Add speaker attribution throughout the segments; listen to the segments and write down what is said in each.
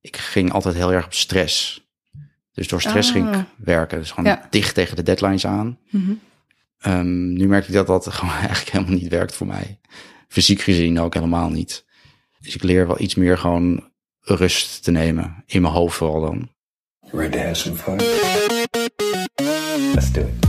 Speaker 1: ik ging altijd heel erg op stress. Dus door stress
Speaker 2: Ah.
Speaker 1: ging ik werken. Dus gewoon
Speaker 2: Ja.
Speaker 1: dicht tegen de deadlines aan.
Speaker 2: Mhm.
Speaker 1: Ehm, nu merk ik dat dat gewoon eigenlijk helemaal niet werkt voor mij. Fysiek gezien ook helemaal niet. Dus ik leer wel iets meer gewoon rust te nemen. In mijn hoofd vooral dan.
Speaker 3: Ready to have some fun? Let's do it.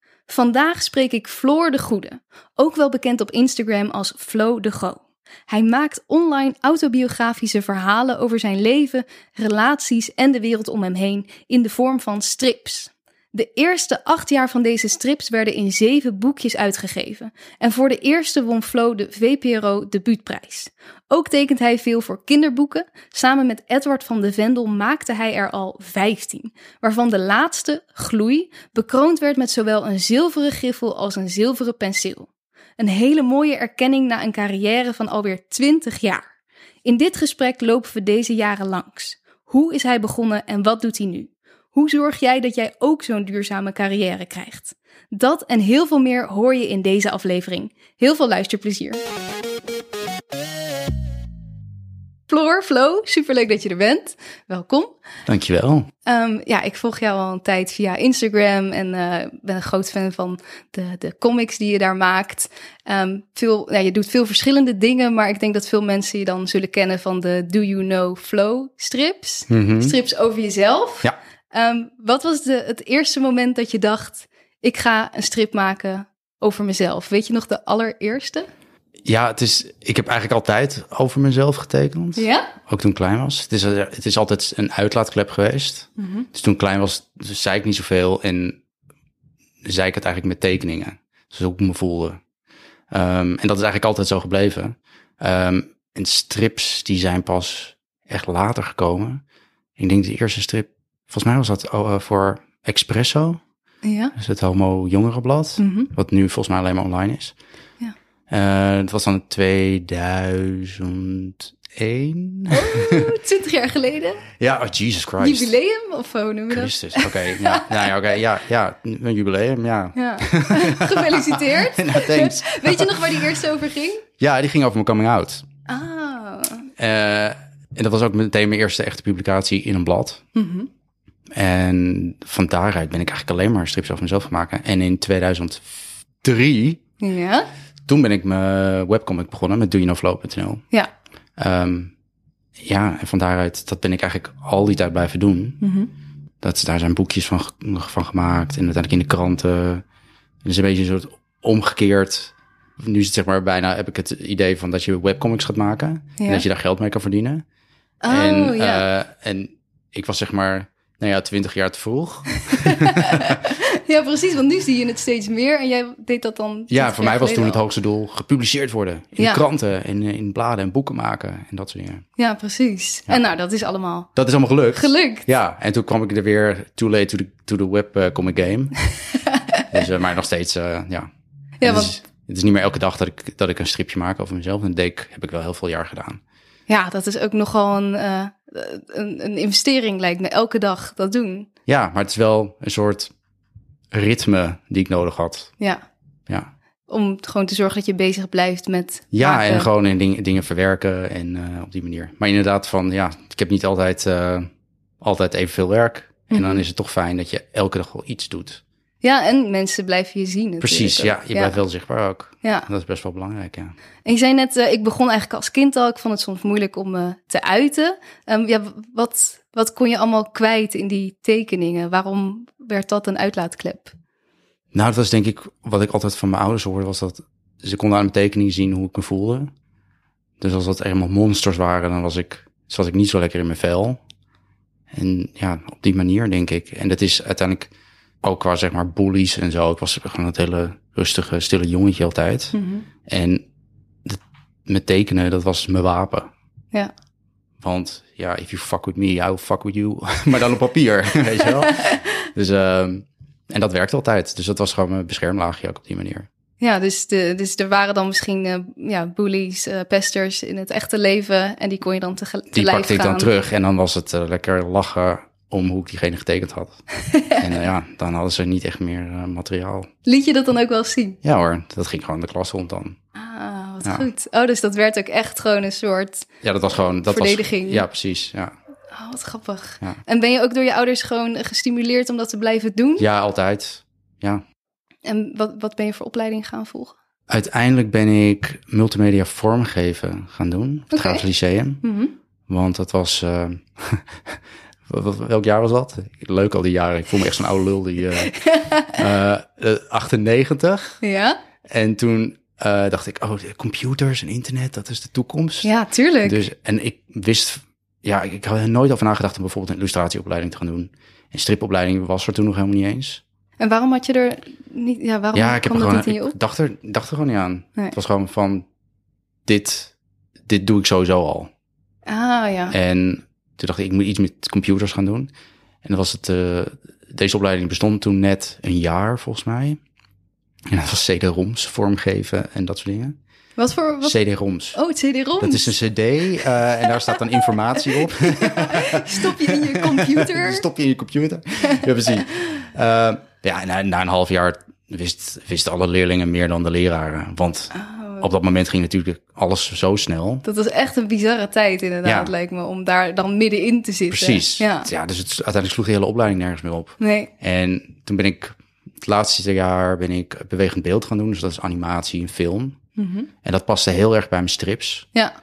Speaker 2: Vandaag spreek ik Floor de Goede, ook wel bekend op Instagram als Flo de Go. Hij maakt online autobiografische verhalen over zijn leven, relaties en de wereld om hem heen in de vorm van strips. De eerste acht jaar van deze strips werden in zeven boekjes uitgegeven. En voor de eerste won Flo de VPRO debuutprijs. Ook tekent hij veel voor kinderboeken. Samen met Edward van de Vendel maakte hij er al 15, waarvan de laatste, Gloei, bekroond werd met zowel een zilveren griffel als een zilveren penseel. Een hele mooie erkenning na een carrière van alweer 20 jaar. In dit gesprek lopen we deze jaren langs. Hoe is hij begonnen en wat doet hij nu? Hoe zorg jij dat jij ook zo'n duurzame carrière krijgt? Dat en heel veel meer hoor je in deze aflevering. Heel veel luisterplezier. Floor, Flo, superleuk dat je er bent. Welkom.
Speaker 1: Dankjewel.
Speaker 2: Ehm, ja, ik volg jou al een tijd via Instagram en eh, ben een groot fan van de, de comics die je daar maakt. Ehm, veel, ja, je doet veel verschillende dingen, maar ik denk dat veel mensen je dan zullen kennen van de Do You Know Flow strips.
Speaker 1: Mhm.
Speaker 2: Strips over jezelf.
Speaker 1: Ja.
Speaker 2: Ehm, wat was de, het eerste moment dat je dacht, ik ga een strip maken over mezelf? Weet je nog de allereerste?
Speaker 1: Ja, het is, ik heb eigenlijk altijd over mezelf getekend.
Speaker 2: Ja?
Speaker 1: Ook toen ik klein was. Het is, eh, het is altijd een uitlaatklep geweest.
Speaker 2: Mhm.
Speaker 1: Dus toen ik klein was, zei ik niet zoveel en zei ik het eigenlijk met tekeningen. Dus hoe ik me voelde. Ehm, en dat is eigenlijk altijd zo gebleven. Ehm, en strips, die zijn pas echt later gekomen. Ik denk de eerste strip, volgens mij was dat oh, eh, voor Expresso.
Speaker 2: Ja?
Speaker 1: Dus het Homo Jongerenblad.
Speaker 2: Mhm.
Speaker 1: Wat nu volgens mij alleen maar online is.
Speaker 2: Ja.
Speaker 1: Eh, het was dan 2001.
Speaker 2: Oh. Oeh, 20 jaar geleden?
Speaker 1: ja, oh, Jesus Christ.
Speaker 2: Jubileum of hoe noem je dat?
Speaker 1: Christus, oké. ja, nou ja, oké, ja, ja, een jubileum, ja.
Speaker 2: Ja, gefeliciteerd.
Speaker 1: Nou, thanks.
Speaker 2: Weet je nog waar die eerste over ging?
Speaker 1: Ja, die ging over mijn coming out.
Speaker 2: Ah,
Speaker 1: Eh, en dat was ook meteen mijn eerste echte publicatie in een blad. En van daaruit ben ik eigenlijk alleen maar strips over mezelf gaan maken. En in 2003,
Speaker 2: ja.
Speaker 1: toen ben ik mijn webcomic begonnen met doyouknowflow.nl.
Speaker 2: Ja,
Speaker 1: Ehm, ja, en van daaruit, dat ben ik eigenlijk al die tijd blijven doen.
Speaker 2: Mhm.
Speaker 1: dat, daar zijn boekjes van, ge- van gemaakt en uiteindelijk in de kranten. Dus een beetje een soort omgekeerd. Nu is het zeg maar bijna, heb ik het idee van dat je webcomics gaat maken.
Speaker 2: Ja.
Speaker 1: En dat je daar geld mee kan verdienen.
Speaker 2: Oh,
Speaker 1: en,
Speaker 2: ja.
Speaker 1: eh, en ik was zeg maar, nou ja, twintig jaar te vroeg.
Speaker 2: ja, precies. Want nu zie je het steeds meer en jij deed dat dan. 20
Speaker 1: Ja,
Speaker 2: jaar
Speaker 1: voor mij was
Speaker 2: geleden
Speaker 1: toen het
Speaker 2: al.
Speaker 1: hoogste doel gepubliceerd worden. In
Speaker 2: Ja.
Speaker 1: kranten en eh, in bladen en boeken maken en dat soort dingen.
Speaker 2: Ja, precies. En nou, dat is allemaal.
Speaker 1: Dat is allemaal gelukt.
Speaker 2: Gelukt.
Speaker 1: Ja, en toen kwam ik er weer too late to the, to the web eh, comic game. dus, eh, maar nog steeds, eh, ja.
Speaker 2: Ja,
Speaker 1: het,
Speaker 2: want-
Speaker 1: is, het is niet meer elke dag dat ik, dat ik een stripje maak over mezelf. En dat deed ik- heb ik wel heel veel jaar gedaan.
Speaker 2: Ja, dat is ook nogal een, eh, een, een investering, lijkt me. Elke dag dat doen.
Speaker 1: Ja, maar het is wel een soort ritme die ik nodig had.
Speaker 2: Ja.
Speaker 1: Ja,
Speaker 2: Om gewoon te zorgen dat je bezig blijft met.
Speaker 1: ja
Speaker 2: maken.
Speaker 1: en gewoon in ding- dingen verwerken en eh, op die manier. Maar inderdaad van, ja, ik heb niet altijd, eh altijd evenveel werk. En
Speaker 2: Mhm.
Speaker 1: dan is het toch fijn dat je elke dag wel iets doet.
Speaker 2: Ja, en mensen blijven je zien. natuurlijk
Speaker 1: Precies,
Speaker 2: ook.
Speaker 1: ja. Je blijft wel zichtbaar ook.
Speaker 2: Ja.
Speaker 1: Dat is best wel belangrijk, ja.
Speaker 2: En je zei net, eh, ik begon eigenlijk als kind al. Ik vond het soms moeilijk om me te uiten. Ehm, ja, w- wat, wat kon je allemaal kwijt in die tekeningen? Waarom werd dat een uitlaatklep?
Speaker 1: Nou, dat was denk ik wat ik altijd van mijn ouders hoorde, was dat ze konden aan mijn tekening zien hoe ik me voelde. Dus als dat helemaal monsters waren, dan was ik, zat ik niet zo lekker in mijn vel. En ja, op die manier denk ik. En dat is uiteindelijk ook qua zeg maar bullies en zo. Ik was gewoon het hele rustige, stille jongetje altijd. En dat- met tekenen, dat was mijn wapen.
Speaker 2: Ja,
Speaker 1: Want ja, if you fuck with me, I will fuck with you. maar dan op papier, weet je wel. Dus, ehm, en dat werkte altijd. Dus dat was gewoon mijn beschermlaagje ook op die manier.
Speaker 2: Ja, dus, de, dus er waren dan misschien eh, ja, bullies, eh, pesters in het echte leven. En die kon je dan te, ge- te
Speaker 1: Die
Speaker 2: lijf
Speaker 1: pakte ik dan
Speaker 2: gaan.
Speaker 1: terug en dan was het eh, lekker lachen om hoe ik diegene getekend had. en eh, ja, dan hadden ze niet echt meer eh, materiaal.
Speaker 2: Liet je dat dan ook wel eens zien?
Speaker 1: Ja hoor, dat ging gewoon de klas rond dan.
Speaker 2: Ah, wat
Speaker 1: Ja.
Speaker 2: goed. Oh, dus dat werd ook echt gewoon een soort...
Speaker 1: Ja, dat was gewoon... Dat
Speaker 2: Verdediging.
Speaker 1: Was, ja, precies. Ja.
Speaker 2: Oh, wat grappig.
Speaker 1: Ja.
Speaker 2: En ben je ook door je ouders gewoon gestimuleerd om dat te blijven doen?
Speaker 1: ja, altijd. Ja.
Speaker 2: En wat, wat ben je voor opleiding gaan volgen?
Speaker 1: Uiteindelijk ben ik multimedia vormgeven gaan doen. Op het
Speaker 2: Oké.
Speaker 1: Graafs Lyceum.
Speaker 2: Mhm.
Speaker 1: Want dat was. eh, wat- wat- welk jaar was dat? Leuk al die jaren. Ik voel me echt zo'n oude lul. Die, eh, eh, eh, 98.
Speaker 2: Ja?
Speaker 1: En toen eh, dacht ik, oh, de computers en internet, dat is de toekomst.
Speaker 2: Ja, tuurlijk.
Speaker 1: Dus, en ik wist. Ja, ik, ik had er nooit over nagedacht om bijvoorbeeld een illustratieopleiding te gaan doen. Een stripopleiding was er toen nog helemaal niet eens.
Speaker 2: En waarom had je er niet... Ja, waarom
Speaker 1: ja, ik heb
Speaker 2: Oh, kwam
Speaker 1: gewoon.
Speaker 2: dat niet in je op?
Speaker 1: Ik dacht er, dacht er gewoon niet aan.
Speaker 2: Nee.
Speaker 1: Het was gewoon van: dit, dit doe ik sowieso al.
Speaker 2: Ah, ja.
Speaker 1: En toen dacht ik, ik moet iets met computers gaan doen. En dat was het, eh, deze opleiding bestond toen net een jaar, volgens mij. En dat was CD-ROMs vormgeven en dat soort dingen.
Speaker 2: Wat voor... Wat...
Speaker 1: CD-ROMs.
Speaker 2: Oh, het CD-ROM.
Speaker 1: Dat is dus- een CD eh, en daar staat dan informatie op.
Speaker 2: Stop je in je computer.
Speaker 1: Die stop je in je computer. ja, precies. Eh, ja, na, na een half jaar wist, wisten alle leerlingen meer dan de leraren. Want
Speaker 2: Oh.
Speaker 1: op dat moment ging natuurlijk alles zo snel.
Speaker 2: Dat was echt een bizarre tijd inderdaad,
Speaker 1: Ja.
Speaker 2: lijkt me, om daar dan middenin te zitten.
Speaker 1: Precies.
Speaker 2: Ja.
Speaker 1: dus het, uiteindelijk sloeg de hele opleiding nergens meer op.
Speaker 2: Nee.
Speaker 1: En toen ben ik het laatste jaar ben ik bewegend beeld gaan doen. Dus dat is animatie en film.
Speaker 2: Mhm.
Speaker 1: En dat paste heel erg bij mijn strips.
Speaker 2: Ja.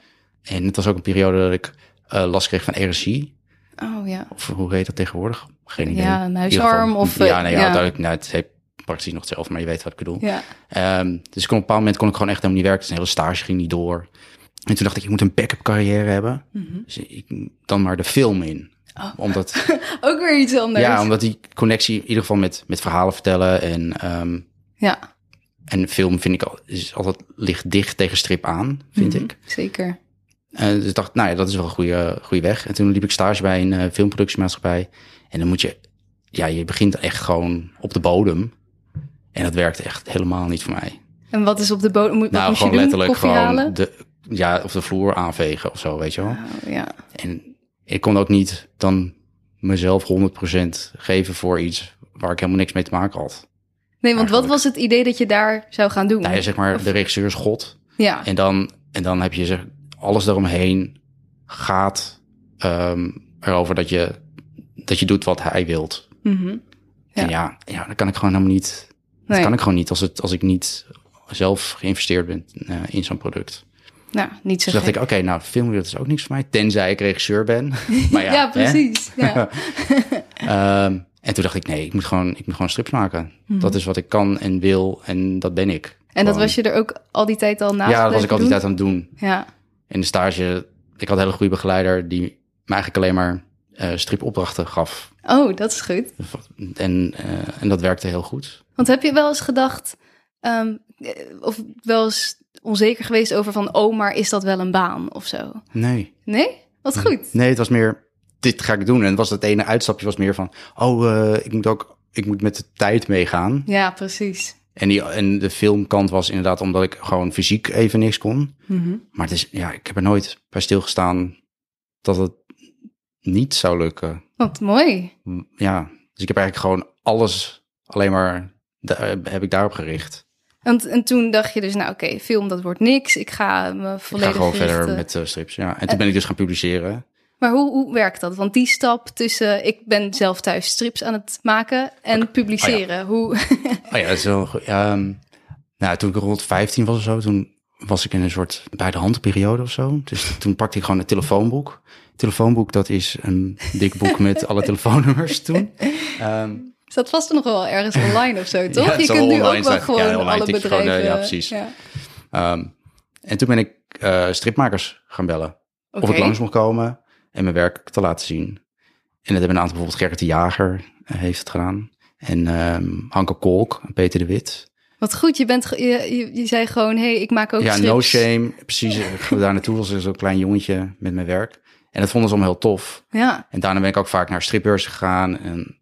Speaker 1: En het was ook een periode dat ik eh, last kreeg van RSI.
Speaker 2: Oh ja.
Speaker 1: Of hoe heet dat tegenwoordig? Geen idee.
Speaker 2: Ja, een
Speaker 1: In ieder geval-
Speaker 2: huisarm of,
Speaker 1: Ja,
Speaker 2: eh,
Speaker 1: nee,
Speaker 2: ja.
Speaker 1: ja. duidelijk. nou, het heet praktisch nog hetzelfde, maar je weet wat ik bedoel.
Speaker 2: Ja.
Speaker 1: Ehm, dus ik kon op een bepaald moment kon ik gewoon echt helemaal niet werken. Dus een hele stage ging niet door. En toen dacht ik, ik moet een backup carrière hebben.
Speaker 2: Mhm.
Speaker 1: Dus ik, dan maar de film in.
Speaker 2: Oh.
Speaker 1: Omdat
Speaker 2: Ook weer iets anders.
Speaker 1: Ja, omdat die connectie in ieder geval met, met verhalen vertellen en, ehm,
Speaker 2: Ja,
Speaker 1: en film vind ik al, is altijd ligt dicht tegen strip aan, vind
Speaker 2: Mhm.
Speaker 1: ik.
Speaker 2: zeker.
Speaker 1: En dus ik dacht, nou ja, dat is wel een goede, goede weg. En toen liep ik stage bij een eh, filmproductiemaatschappij. En dan moet je, ja, je begint echt gewoon op de bodem. En dat werkte echt helemaal niet voor mij.
Speaker 2: En wat is op de bodem? Moet, wat
Speaker 1: nou,
Speaker 2: moest je
Speaker 1: gewoon
Speaker 2: doen?
Speaker 1: letterlijk
Speaker 2: Koffie
Speaker 1: gewoon
Speaker 2: halen?
Speaker 1: de, ja, of de vloer aanvegen of zo, weet je wel.
Speaker 2: Oh, ja.
Speaker 1: En ik kon ook niet dan mezelf 100% geven voor iets waar ik helemaal niks mee te maken had.
Speaker 2: Nee, want wat
Speaker 1: Eigenlijk.
Speaker 2: was het idee dat je daar zou gaan doen?
Speaker 1: Nou ja, zeg maar, de regisseur is God.
Speaker 2: ja.
Speaker 1: En dan, en dan heb je zeg, alles daaromheen gaat ehm, erover dat je, dat je doet wat hij wilt.
Speaker 2: Mhm. Ja.
Speaker 1: En ja, ja, dat kan ik gewoon helemaal niet.
Speaker 2: Nee.
Speaker 1: Dat kan ik gewoon niet als, het, als ik niet zelf geïnvesteerd ben eh, in zo'n product.
Speaker 2: Nou, niet zo
Speaker 1: Dus dacht ik,
Speaker 2: gek.
Speaker 1: oké, nou, film dat is ook niks voor mij. Tenzij ik regisseur ben. maar nou ja,
Speaker 2: ja,
Speaker 1: hè?
Speaker 2: precies. Ja.
Speaker 1: Ehm, en toen dacht ik, nee, ik moet gewoon, ik moet gewoon strips maken.
Speaker 2: Mhm.
Speaker 1: Dat is wat ik kan en wil en dat ben ik.
Speaker 2: En dat
Speaker 1: Gewoon.
Speaker 2: was je er ook al die tijd al naast
Speaker 1: Ja, dat was ik
Speaker 2: blijven
Speaker 1: al die
Speaker 2: doen?
Speaker 1: tijd aan het doen.
Speaker 2: Ja.
Speaker 1: in de stage, ik had een hele goede begeleider die me eigenlijk alleen maar eh, stripopdrachten gaf.
Speaker 2: Oh, dat is goed.
Speaker 1: En, eh, en dat werkte heel goed.
Speaker 2: Want heb je wel eens gedacht, ehm, eh, of wel eens onzeker geweest over van, oh, maar is dat wel een baan of zo?
Speaker 1: Nee.
Speaker 2: Nee? Wat goed.
Speaker 1: Nee, het was meer, dit ga ik doen. En het was het ene uitstapje was meer van, oh, eh, ik moet ook, ik moet met de tijd meegaan.
Speaker 2: Ja, precies.
Speaker 1: En, die, en de filmkant was inderdaad omdat ik gewoon fysiek even niks kon. Maar het is, ja, ik heb er nooit bij stilgestaan dat het niet zou lukken.
Speaker 2: Wat mooi.
Speaker 1: Ja, dus ik heb eigenlijk gewoon alles alleen maar, da- heb ik daarop gericht.
Speaker 2: En, en toen dacht je dus, nou oké, film dat wordt niks. Ik ga
Speaker 1: Ik
Speaker 2: me
Speaker 1: ga
Speaker 2: volledig
Speaker 1: gewoon
Speaker 2: richten.
Speaker 1: verder met eh, strips, ja. En toen ben ik dus gaan publiceren.
Speaker 2: Maar hoe, hoe werkt dat? Want die stap tussen, ik ben zelf thuis strips aan het maken en publiceren. Hoe...
Speaker 1: Oh ja, dat is wel goed. Ehm, nou, toen ik rond 15 was of zo, toen was ik in een soort bij de hand periode of zo. Dus toen pakte ik gewoon het telefoonboek. Telefoonboek, dat is een dik boek met alle telefoonnummers toen. Ehm,
Speaker 2: Zat vast nog wel ergens online of zo, toch?
Speaker 1: het
Speaker 2: je
Speaker 1: zal
Speaker 2: kunt
Speaker 1: wel
Speaker 2: nu
Speaker 1: online
Speaker 2: ook wel
Speaker 1: zijn.
Speaker 2: gewoon
Speaker 1: Ja, online
Speaker 2: alle
Speaker 1: tik je
Speaker 2: bedrijven...
Speaker 1: gewoon, eh, ja, precies.
Speaker 2: Ja.
Speaker 1: ehm, en toen ben ik eh, stripmakers gaan bellen. Of
Speaker 2: Oké.
Speaker 1: ik langs mocht komen en mijn werk te laten zien. En dat hebben een aantal, bijvoorbeeld Gerrit de Jager eh, heeft het gedaan. En ehm Hanke Kolk, en Peter de Wit.
Speaker 2: Wat goed, je, bent, ge- je, je, je zei gewoon, hé, hey, ik maak ook
Speaker 1: Ja,
Speaker 2: strips.
Speaker 1: no shame. Precies, ik ging daar naartoe was er zo'n klein jongetje met mijn werk. En dat vonden ze allemaal heel tof.
Speaker 2: Ja,
Speaker 1: En daarna ben ik ook vaak naar stripbeurzen gegaan. En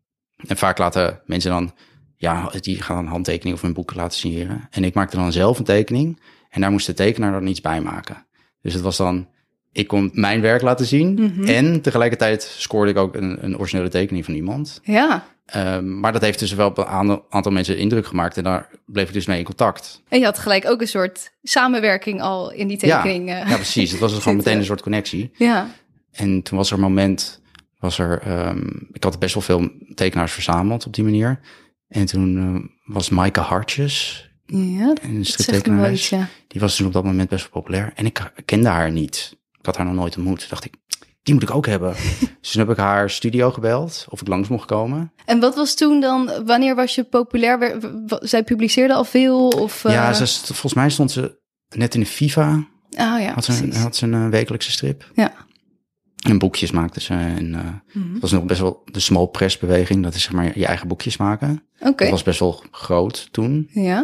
Speaker 1: En vaak laten mensen dan, ja, die gaan een handtekening of hun boek laten signeren. En ik maakte dan zelf een tekening en daar moest de tekenaar dan iets bij maken. Dus het was dan, ik kon mijn werk laten zien en tegelijkertijd scoorde ik ook een, een originele tekening van iemand.
Speaker 2: Ja.
Speaker 1: Ehm, maar dat heeft dus wel op een aantal- aantal mensen indruk gemaakt en daar bleef ik dus mee in contact.
Speaker 2: En je had gelijk ook een soort samenwerking al in die tekening.
Speaker 1: Ja,
Speaker 2: eh.
Speaker 1: ja, precies. Het was dus gewoon
Speaker 2: zitten.
Speaker 1: meteen een soort connectie.
Speaker 2: ja.
Speaker 1: En toen was er een moment, was er, ehm, ik had best wel veel tekenaars verzameld op die manier. En toen ehm, was Maaike Hartjes,
Speaker 2: Ja,
Speaker 1: een
Speaker 2: dat zegt me wel
Speaker 1: striptekenares,
Speaker 2: iets, ja.
Speaker 1: die was dus op dat moment best wel populair. En ik kende haar niet. Ik had haar nog nooit ontmoet. Toen dacht ik, die moet ik ook hebben. dus toen heb ik haar studio gebeld, of ik langs mocht komen.
Speaker 2: En wat was toen dan, wanneer was je populair? Wer- w- w- Zij publiceerde al veel? Of, eh,
Speaker 1: Ja, ze, st- volgens mij stond ze net in de FIFA,
Speaker 2: Ah ja,
Speaker 1: had ze, een,
Speaker 2: precies.
Speaker 1: had ze een eh, wekelijkse strip.
Speaker 2: Ja. Mhm.
Speaker 1: En boekjes maakte ze. En eh, het was nog best wel de small press beweging. Dat is zeg maar je eigen boekjes maken.
Speaker 2: Oké.
Speaker 1: Dat was best wel groot toen.
Speaker 2: Ja.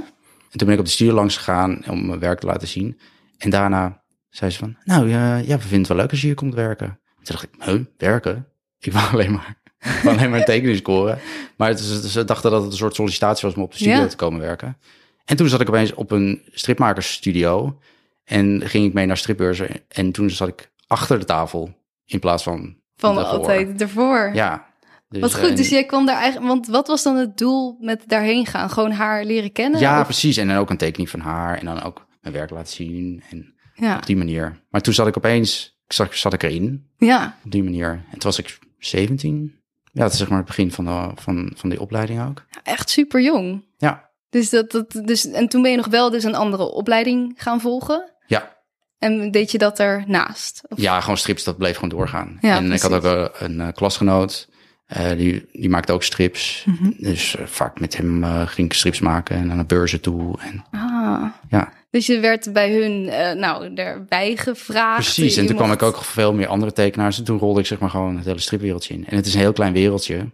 Speaker 1: En toen ben ik op de studio langs gegaan om mijn werk te laten zien. En daarna zei ze van, nou ja, ja we vinden het wel leuk als je hier komt werken. Toen dacht ik, huh, werken? Ik wou alleen maar, ik wou alleen maar een tekening scoren. Maar het, is- ze dachten dat het een soort sollicitatie was om op de studio
Speaker 2: Ja.
Speaker 1: te komen werken. En toen zat ik opeens op een stripmakersstudio. En ging ik mee naar stripbeurzen. En toen zat ik achter de tafel in plaats van
Speaker 2: Van
Speaker 1: daarvoor.
Speaker 2: altijd ervoor.
Speaker 1: Ja. Dus,
Speaker 2: Wat goed,
Speaker 1: en-
Speaker 2: dus jij kwam daar eigenlijk... Want wat was dan het doel met daarheen gaan? Gewoon haar leren kennen?
Speaker 1: Ja,
Speaker 2: Of-
Speaker 1: precies. En dan ook een tekening van haar. En dan ook mijn werk laten zien. En
Speaker 2: ja.
Speaker 1: op die manier. Maar toen zat ik opeens, zat, zat ik erin.
Speaker 2: ja.
Speaker 1: Op die manier. En toen was ik 17. Ja, dat is zeg maar het begin van, de, van, van die opleiding ook.
Speaker 2: Echt super jong.
Speaker 1: Ja.
Speaker 2: Dus dat, dat, dus, en toen ben je nog wel dus een andere opleiding gaan volgen.
Speaker 1: Ja,
Speaker 2: En deed je dat daarnaast? Of-
Speaker 1: ja gewoon strips, dat bleef gewoon doorgaan.
Speaker 2: Ja,
Speaker 1: en ik had
Speaker 2: precies.
Speaker 1: ook eh, een, eh, klasgenoot. eh, die, die maakte ook strips.
Speaker 2: Mhm.
Speaker 1: Dus eh, vaak met hem eh, ging ik strips maken en naar de beurzen toe. En,
Speaker 2: Ah.
Speaker 1: ja,
Speaker 2: Dus je werd bij hun, eh, nou, erbij gevraagd.
Speaker 1: precies.
Speaker 2: Je
Speaker 1: En toen kwam
Speaker 2: mocht-
Speaker 1: ik ook veel meer andere tekenaars. En toen rolde ik zeg maar gewoon het hele stripwereldje in. En het is een heel klein wereldje.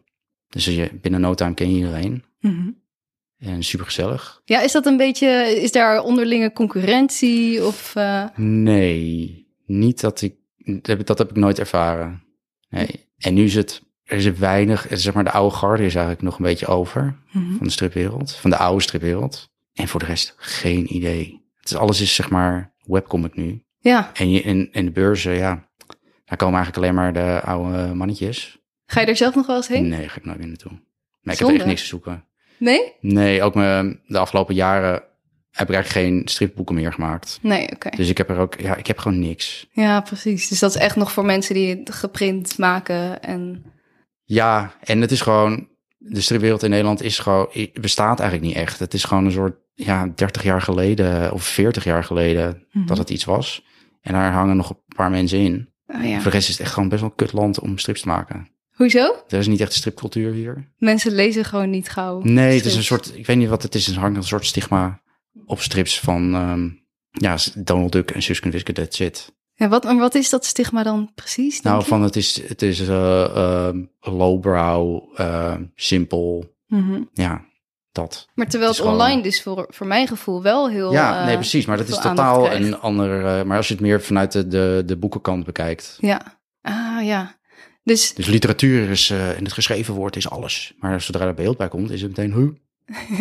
Speaker 1: Dus je, binnen no time ken je iedereen.
Speaker 2: Mhm.
Speaker 1: En super gezellig.
Speaker 2: Ja, is dat een beetje, is daar onderlinge concurrentie of... eh,
Speaker 1: Nee, niet dat ik. Dat heb, dat heb ik nooit ervaren. Nee. En nu is het. Er is weinig. Zeg maar, de oude garde is eigenlijk nog een beetje over. Van de stripwereld. Van de oude stripwereld. En voor de rest geen idee. Het is, alles is zeg maar webcomic nu.
Speaker 2: Ja,
Speaker 1: En, je, en, en de beurzen, ja. Daar komen eigenlijk alleen maar de oude mannetjes.
Speaker 2: ga je er zelf nog wel eens heen?
Speaker 1: Nee, daar ga ik nooit meer naartoe. Nee, ik heb
Speaker 2: Zonde.
Speaker 1: echt niks te zoeken.
Speaker 2: Nee?
Speaker 1: Nee, ook mijn, de afgelopen jaren heb ik eigenlijk geen stripboeken meer gemaakt.
Speaker 2: Nee, oké.
Speaker 1: Dus ik heb er ook, ja, ik heb gewoon niks.
Speaker 2: Ja, precies. Dus dat is echt nog voor mensen die het geprint maken en...
Speaker 1: Ja, en het is gewoon. De stripwereld in Nederland is gewoon, i- bestaat eigenlijk niet echt. Het is gewoon een soort ja, 30 jaar geleden eh, of 40 jaar geleden
Speaker 2: Mhm.
Speaker 1: dat het iets was. En daar hangen nog een paar mensen in.
Speaker 2: Oh, ja.
Speaker 1: Voor de rest is het echt gewoon best wel een kut land om strips te maken.
Speaker 2: Hoezo?
Speaker 1: Er is niet echt stripcultuur hier.
Speaker 2: Mensen lezen gewoon niet gauw.
Speaker 1: Nee, het is
Speaker 2: strips.
Speaker 1: een soort, ik weet niet wat het is, er hangt een soort stigma op strips van ehm, ja, Donald Duck en Suske en Wiske, that's it.
Speaker 2: Ja, wat, maar wat is dat stigma dan precies? denk
Speaker 1: Nou,
Speaker 2: je?
Speaker 1: van het is, het is eh, ehm, lowbrow, ehm, simpel,
Speaker 2: Mhm.
Speaker 1: ja, dat.
Speaker 2: Maar terwijl het,
Speaker 1: Het is gewoon-
Speaker 2: online dus voor, voor mijn gevoel wel heel...
Speaker 1: Ja,
Speaker 2: eh,
Speaker 1: nee, precies. Maar dat is
Speaker 2: veel aandacht
Speaker 1: totaal
Speaker 2: krijgt.
Speaker 1: een ander. eh, maar als je het meer vanuit de, de, de boekenkant bekijkt.
Speaker 2: Ja. Ah, ja. Dus
Speaker 1: Dus literatuur is, eh, en het geschreven woord is alles. Maar zodra er beeld bij komt, is het meteen
Speaker 2: Oh,
Speaker 1: hoe.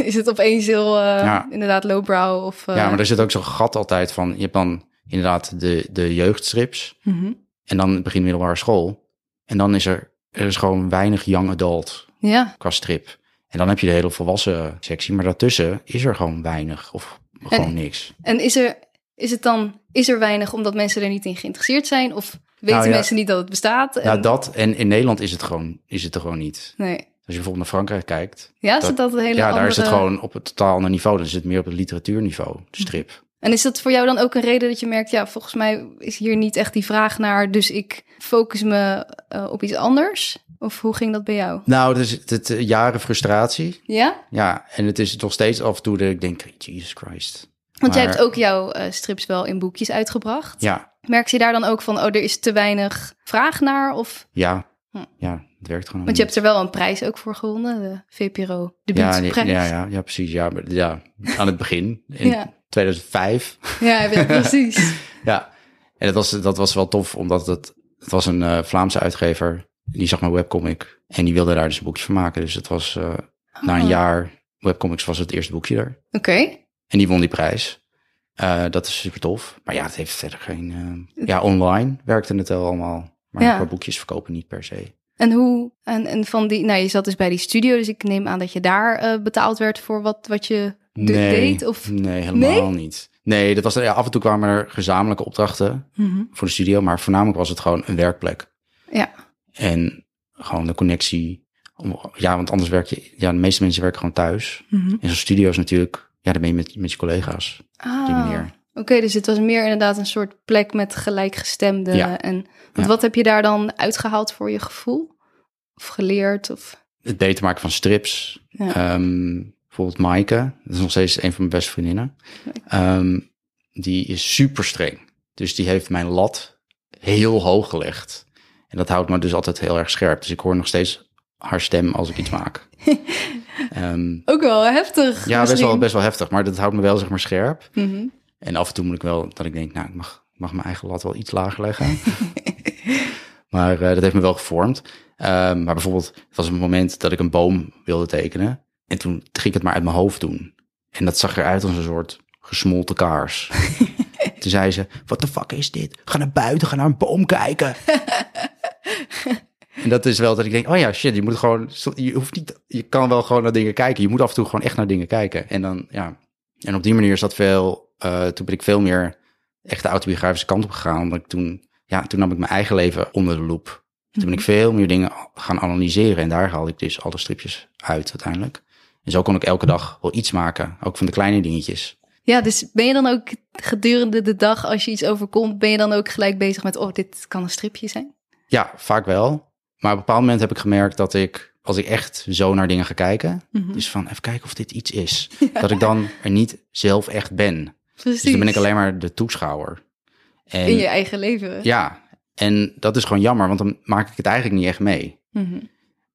Speaker 2: is het opeens heel, eh,
Speaker 1: Ja.
Speaker 2: inderdaad, lowbrow of... eh,
Speaker 1: Ja, maar er zit ook zo'n gat altijd van. Je hebt dan inderdaad de, de jeugdstrips.
Speaker 2: mhm.
Speaker 1: En dan begin middelbare school. En dan is er, er is gewoon weinig young adult
Speaker 2: Ja.
Speaker 1: qua strip. En dan heb je de hele volwassen sectie. Maar daartussen is er gewoon weinig of gewoon
Speaker 2: En-
Speaker 1: niks.
Speaker 2: En is er, is het dan, is er weinig omdat mensen er niet in geïnteresseerd zijn? Of weten
Speaker 1: Nou ja.
Speaker 2: mensen niet dat het bestaat? En-
Speaker 1: Nou, dat. En in Nederland is het, gewoon, is het er gewoon niet.
Speaker 2: Nee.
Speaker 1: Als je bijvoorbeeld naar Frankrijk kijkt.
Speaker 2: Ja, is
Speaker 1: Dat-
Speaker 2: dat, dat een hele
Speaker 1: ja, daar is het
Speaker 2: andere- Hm.
Speaker 1: gewoon op een totaal ander niveau. Dan is het meer op het literatuurniveau, de strip.
Speaker 2: En is dat voor jou dan ook een reden dat je merkt, ja, volgens mij is hier niet echt die vraag naar, dus ik focus me eh, op iets anders? Of hoe ging dat bij jou?
Speaker 1: Nou, dus het, het eh, jaren frustratie.
Speaker 2: Ja?
Speaker 1: Ja, en het is nog steeds af en toe dat ik denk, Jesus Christ.
Speaker 2: Want jij
Speaker 1: Maar-
Speaker 2: hebt ook jouw eh, strips wel in boekjes uitgebracht.
Speaker 1: Ja,
Speaker 2: Merk je daar dan ook van, oh, er is te weinig vraag naar? Of,
Speaker 1: ja,
Speaker 2: Hm.
Speaker 1: ja, het werkt gewoon.
Speaker 2: want je hebt er wel een prijs ook voor gewonnen, de
Speaker 1: Mm.
Speaker 2: VPRO
Speaker 1: ja, ja,
Speaker 2: debuutprijs.
Speaker 1: ja, ja, ja, precies. Ja, maar, ja, aan het begin, in
Speaker 2: Ja.
Speaker 1: 2005.
Speaker 2: ja. ja, precies.
Speaker 1: Ja, en dat was, dat was wel tof, omdat het, het was een eh, Vlaamse uitgever. Die zag mijn webcomic en die wilde daar dus een boekje van maken. Dus het was eh, na een
Speaker 2: Oh.
Speaker 1: jaar webcomics was het eerste boekje daar.
Speaker 2: Oké,
Speaker 1: En die won die prijs. Eh, dat is super tof. Maar ja, het heeft verder geen... eh, ja, online werkte het wel allemaal. Maar
Speaker 2: Ja.
Speaker 1: qua boekjes verkopen niet per se.
Speaker 2: en hoe, en, en van die, nou je zat dus bij die studio, dus ik neem aan dat je daar eh, betaald werd voor wat, wat je de- deed? Of...
Speaker 1: Nee, helemaal niet. Nee, dat was, ja, af en toe kwamen er gezamenlijke opdrachten
Speaker 2: Mhm.
Speaker 1: voor de studio. Maar voornamelijk was het gewoon een werkplek.
Speaker 2: Ja.
Speaker 1: En gewoon de connectie. om- Ja, want anders werk je... Ja, de meeste mensen werken gewoon thuis.
Speaker 2: Mhm.
Speaker 1: En zo'n studio is natuurlijk... Ja, dan ben je met, met je collega's op die
Speaker 2: Ah,
Speaker 1: manier.
Speaker 2: Oké, dus het was meer inderdaad een soort plek met gelijkgestemden.
Speaker 1: Ja.
Speaker 2: En,
Speaker 1: Ja.
Speaker 2: want wat heb je daar dan uitgehaald voor je gevoel? Of geleerd? Of...
Speaker 1: het beter maken van strips.
Speaker 2: Ja.
Speaker 1: Ehm, bijvoorbeeld Maaike, dat is nog steeds een van mijn beste vriendinnen. Ehm, die is super streng. Dus die heeft mijn lat heel hoog gelegd. En dat houdt me dus altijd heel erg scherp. Dus ik hoor nog steeds haar stem als ik iets maak. Ehm,
Speaker 2: Ook wel heftig.
Speaker 1: ja, best
Speaker 2: misschien.
Speaker 1: wel, best wel heftig, maar dat houdt me wel zeg maar scherp.
Speaker 2: Mhm.
Speaker 1: En af en toe moet ik wel dat ik denk, nou, ik mag, mag mijn eigen lat wel iets lager leggen. maar eh, dat heeft me wel gevormd. Ehm, maar bijvoorbeeld, het was een moment dat ik een boom wilde tekenen. En toen ging ik het maar uit mijn hoofd doen. En dat zag eruit als een soort gesmolten kaars. toen zei ze, wat de fuck is dit? Ga naar buiten, ga naar een boom kijken. en dat is wel dat ik denk, oh ja, shit, je moet gewoon, je hoeft niet, je kan wel gewoon naar dingen kijken. Je moet af en toe gewoon echt naar dingen kijken. En dan, ja, en op die manier is dat veel. eh, toen ben ik veel meer echt de autobiografische kant op gegaan. Omdat ik toen, ja, toen nam ik mijn eigen leven onder de loep. Toen ben ik veel meer dingen gaan analyseren. En daar haalde ik dus alle stripjes uit uiteindelijk. En zo kon ik elke dag wel iets maken. Ook van de kleine dingetjes.
Speaker 2: Ja, dus ben je dan ook gedurende de dag, als je iets overkomt, ben je dan ook gelijk bezig met, oh, dit kan een stripje zijn?
Speaker 1: Ja, vaak wel. Maar op een bepaald moment heb ik gemerkt dat ik, als ik echt zo naar dingen ga kijken.
Speaker 2: Mhm.
Speaker 1: Dus van even kijken of dit iets is. Dat ik dan er niet zelf echt ben.
Speaker 2: Precies.
Speaker 1: Dus dan ben ik alleen maar de toeschouwer. En,
Speaker 2: in je eigen leven.
Speaker 1: Ja, en dat is gewoon jammer, want dan maak ik het eigenlijk niet echt mee.
Speaker 2: Mhm.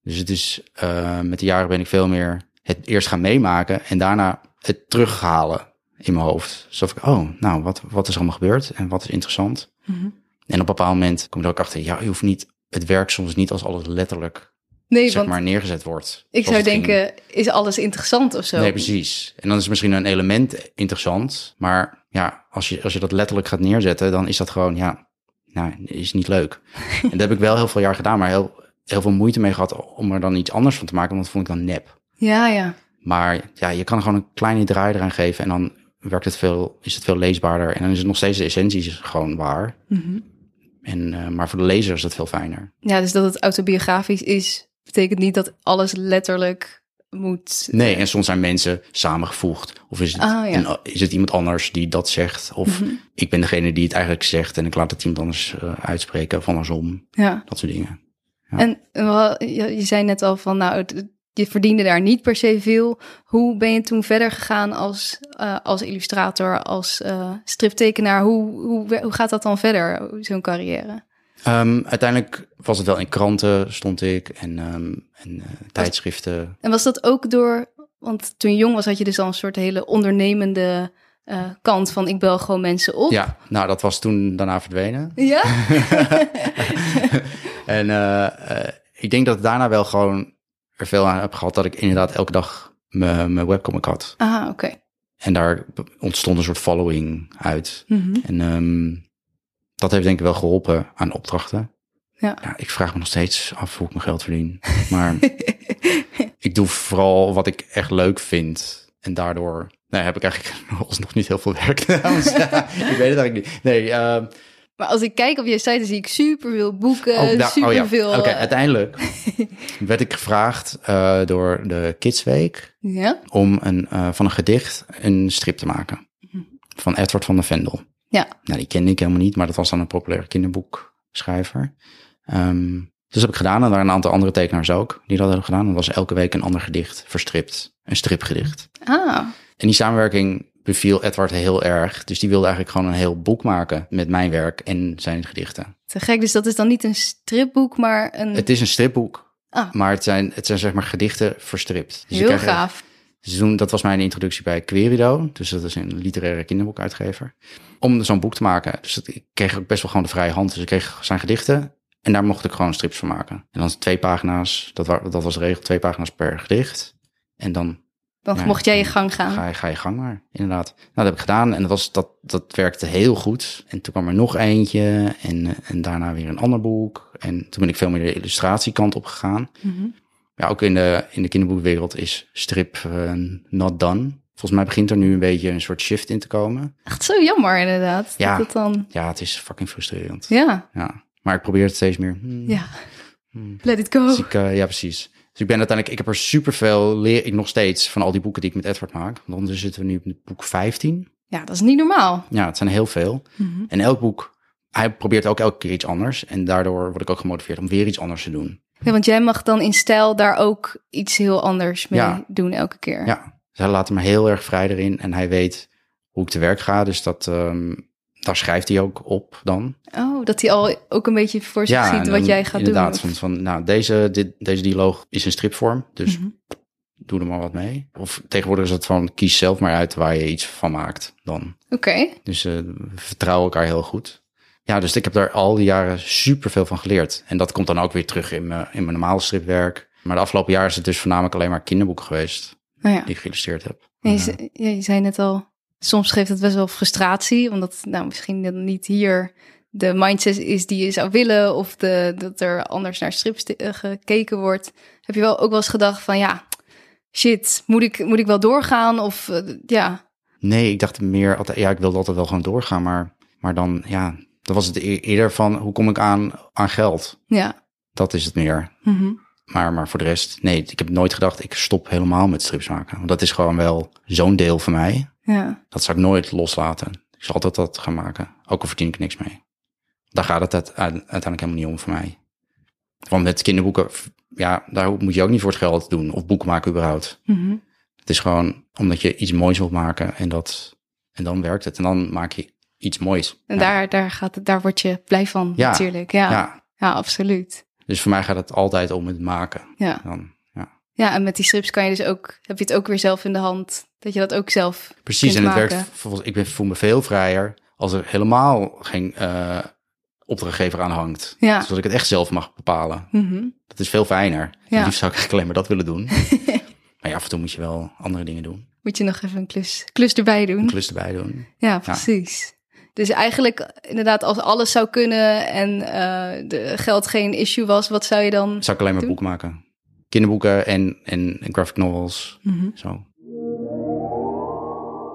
Speaker 1: Dus het is, eh, met de jaren ben ik veel meer het eerst gaan meemaken en daarna het terughalen in mijn hoofd. Alsof ik, oh, nou, wat, wat is er allemaal gebeurd en wat is interessant?
Speaker 2: Mhm.
Speaker 1: En op een bepaald moment kom je er ook achter, ja, je hoeft niet, het werk soms niet als alles letterlijk,
Speaker 2: Nee,
Speaker 1: zeg
Speaker 2: want
Speaker 1: maar, neergezet wordt.
Speaker 2: ik
Speaker 1: Zoals
Speaker 2: zou
Speaker 1: het ging.
Speaker 2: denken, is alles interessant of zo?
Speaker 1: Nee, precies. En dan is misschien een element interessant, maar ja, als je, als je dat letterlijk gaat neerzetten, dan is dat gewoon, ja, nou, is niet leuk. en dat heb ik wel heel veel jaar gedaan, maar heel, heel veel moeite mee gehad om er dan iets anders van te maken, want dat vond ik dan nep.
Speaker 2: Ja, ja.
Speaker 1: Maar ja, je kan er gewoon een kleine draai eraan geven en dan werkt het veel, is het veel leesbaarder en dan is het nog steeds de essentie is gewoon waar.
Speaker 2: Mhm.
Speaker 1: En, eh, maar voor de lezer is dat veel fijner.
Speaker 2: Ja, dus dat het autobiografisch is, betekent niet dat alles letterlijk moet.
Speaker 1: Nee, en soms zijn mensen samengevoegd. Of is het,
Speaker 2: Ah, ja.
Speaker 1: en, is het iemand anders die dat zegt? Of ik ben degene die het eigenlijk zegt en ik laat het iemand anders eh, uitspreken of andersom.
Speaker 2: Ja.
Speaker 1: Dat soort dingen.
Speaker 2: En eh, wel, je, je zei net al van, nou, het- je verdiende daar niet per se veel. Hoe ben je toen verder gegaan als, eh, als illustrator, als eh, striptekenaar? Hoe, hoe, hoe gaat dat dan verder, zo'n carrière?
Speaker 1: Ehm, uiteindelijk was het wel in kranten stond ik en, ehm, en eh, tijdschriften.
Speaker 2: En was dat ook door, want toen je jong was, had je dus al een soort hele ondernemende eh, kant van ik bel gewoon mensen op.
Speaker 1: Ja, nou dat was toen daarna verdwenen.
Speaker 2: Ja?
Speaker 1: En eh, eh, ik denk dat ik daarna wel gewoon er veel aan heb gehad dat ik inderdaad elke dag mijn mijn webcomic had.
Speaker 2: Ah, oké.
Speaker 1: En daar ontstond een soort following uit.
Speaker 2: Mhm.
Speaker 1: En ehm, dat heeft denk ik wel geholpen aan opdrachten.
Speaker 2: Ja.
Speaker 1: ik vraag me nog steeds af hoe ik mijn geld verdien. Maar ik doe vooral wat ik echt leuk vind. En daardoor nee, heb ik eigenlijk nog niet heel veel werk trouwens. ik weet het eigenlijk niet. Nee, ehm,
Speaker 2: Maar als ik kijk op je site, dan zie ik superveel boeken,
Speaker 1: oh, nou, oh ja.
Speaker 2: Eh, superveel...
Speaker 1: Oké,
Speaker 2: eh,
Speaker 1: uiteindelijk werd ik gevraagd eh, door de Kidsweek
Speaker 2: ja?
Speaker 1: om een, eh, van een gedicht een strip te maken. Van Edward van der Vendel.
Speaker 2: Mhm. Ja.
Speaker 1: Nou, die kende ik helemaal niet, maar dat was dan een populaire kinderboekschrijver. Ehm, dus dat heb ik gedaan. En er waren een aantal andere tekenaars ook die dat hebben gedaan. Dat was elke week een ander gedicht, verstript. Een stripgedicht.
Speaker 2: Ah,
Speaker 1: En die samenwerking beviel Edward heel erg. Dus die wilde eigenlijk gewoon een heel boek maken met mijn werk en zijn gedichten.
Speaker 2: te gek. Dus dat is dan niet een stripboek, maar een...
Speaker 1: Het is een stripboek,
Speaker 2: Ah.
Speaker 1: maar het zijn, het zijn zeg maar gedichten verstript. Dus je
Speaker 2: heel
Speaker 1: krijgt-
Speaker 2: gaaf.
Speaker 1: Ze doen, dat was mijn introductie bij Querido. Dus dat is een literaire kinderboekuitgever. Om zo'n boek te maken. Dus dat- ik kreeg ook best wel gewoon de vrije hand. Dus ik kreeg zijn gedichten. En daar mocht ik gewoon strips van maken. En dan twee pagina's, dat, wa- dat was de regel, twee pagina's per gedicht. En dan
Speaker 2: Dan
Speaker 1: Ja,
Speaker 2: mocht jij je gang gaan.
Speaker 1: Ga je, ga je gang maar, inderdaad. Nou, dat heb ik gedaan en dat, was, dat, dat werkte heel goed. En toen kwam er nog eentje en, en daarna weer een ander boek. En toen ben ik veel meer de illustratiekant op gegaan.
Speaker 2: Mhm.
Speaker 1: Ja, ook in de, in de kinderboekwereld is strip eh, not done. Volgens mij begint er nu een beetje een soort shift in te komen.
Speaker 2: Echt zo jammer inderdaad.
Speaker 1: Ja.
Speaker 2: Dat het dan...
Speaker 1: Ja, het is fucking frustrerend. Ja.
Speaker 2: Ja,
Speaker 1: Maar ik probeer het steeds meer. Hmm.
Speaker 2: ja. Let it go.
Speaker 1: Dus ik, eh, ja, precies. Dus ik ben uiteindelijk, ik heb er superveel, leer ik nog steeds van al die boeken die ik met Edward maak. Want ondertussen zitten we nu op boek 15.
Speaker 2: Ja, dat is niet normaal.
Speaker 1: Ja, het zijn heel veel.
Speaker 2: Mhm.
Speaker 1: En elk boek, hij probeert ook elke keer iets anders. En daardoor word ik ook gemotiveerd om weer iets anders te doen.
Speaker 2: Ja, want jij mag dan in stijl daar ook iets heel anders mee
Speaker 1: Ja.
Speaker 2: doen elke keer.
Speaker 1: Ja, dus hij laat me heel erg vrij erin. En hij weet hoe ik te werk ga. Dus dat, ehm, daar schrijft hij ook op dan.
Speaker 2: Oh, dat hij al ook een beetje voor zich
Speaker 1: ja,
Speaker 2: Dus ziet
Speaker 1: en
Speaker 2: wat
Speaker 1: dan
Speaker 2: jij gaat
Speaker 1: inderdaad,
Speaker 2: doen.
Speaker 1: Van, van, nou, deze, dit, deze dialoog is in stripvorm. Dus
Speaker 2: Mhm.
Speaker 1: doe er maar wat mee. Of tegenwoordig is het van, kies zelf maar uit waar je iets van maakt dan.
Speaker 2: Oké,
Speaker 1: Dus eh, we vertrouwen elkaar heel goed. Ja, dus ik heb daar al die jaren superveel van geleerd. En dat komt dan ook weer terug in mijn, in mijn normale stripwerk. Maar de afgelopen jaar is het dus voornamelijk alleen maar kinderboeken geweest
Speaker 2: nou ja.
Speaker 1: die ik geïllustreerd heb.
Speaker 2: En je,
Speaker 1: Ja.
Speaker 2: ze- ja, je zei net al, soms geeft het best wel frustratie, omdat het nou misschien dan niet hier de mindset is die je zou willen, of de, dat er anders naar strips eh, gekeken wordt. Heb je wel ook wel eens gedacht van ja, shit, moet ik, moet ik wel doorgaan? Of eh, ja,
Speaker 1: Nee, ik dacht meer altijd, ja, ik wilde altijd wel gewoon doorgaan. Maar, maar dan, ja, dan was het e- eerder van, hoe kom ik aan, aan geld?
Speaker 2: ja.
Speaker 1: Dat is het meer.
Speaker 2: Mhm.
Speaker 1: Maar, maar voor de rest, nee, ik heb nooit gedacht, ik stop helemaal met strips maken. Want dat is gewoon wel zo'n deel van mij.
Speaker 2: Ja,
Speaker 1: Dat zou ik nooit loslaten. Ik zal altijd dat gaan maken. Ook al verdien ik niks mee. Daar gaat het uite- uiteindelijk helemaal niet om voor mij. Want met kinderboeken, f- ja, daar moet je ook niet voor het geld doen. Of boeken maken überhaupt.
Speaker 2: Mhm.
Speaker 1: Het is gewoon omdat je iets moois wilt maken en, dat, en dan werkt het. En dan maak je iets moois.
Speaker 2: en
Speaker 1: ja.
Speaker 2: daar, daar, gaat, het- daar word je blij van
Speaker 1: Ja.
Speaker 2: natuurlijk. Ja. ja.
Speaker 1: Ja,
Speaker 2: absoluut.
Speaker 1: dus voor mij gaat het altijd om het maken.
Speaker 2: Ja.
Speaker 1: Dan, ja.
Speaker 2: ja, en met die strips kan je dus ook, heb je het ook weer zelf in de hand, dat je dat ook zelf
Speaker 1: Precies,
Speaker 2: kunt
Speaker 1: en het
Speaker 2: maken.
Speaker 1: werkt, volgens, ik ben, voel me veel vrijer als er helemaal geen eh, opdrachtgever aan hangt.
Speaker 2: Ja.
Speaker 1: Zodat ik het echt zelf mag bepalen.
Speaker 2: Mhm.
Speaker 1: Dat is veel fijner.
Speaker 2: Ja.
Speaker 1: Het liefst zou ik eigenlijk alleen maar dat willen doen. maar ja, af en toe moet je wel andere dingen doen.
Speaker 2: Moet je nog even een klus, klus erbij doen.
Speaker 1: Een klus erbij doen.
Speaker 2: Ja, precies. Dus eigenlijk inderdaad, als alles zou kunnen en eh, de geld geen issue was, wat zou je dan...
Speaker 1: Zou ik alleen maar
Speaker 2: Doe.
Speaker 1: boeken maken. Kinderboeken en, en, en graphic novels.
Speaker 2: Mhm.
Speaker 1: Zo.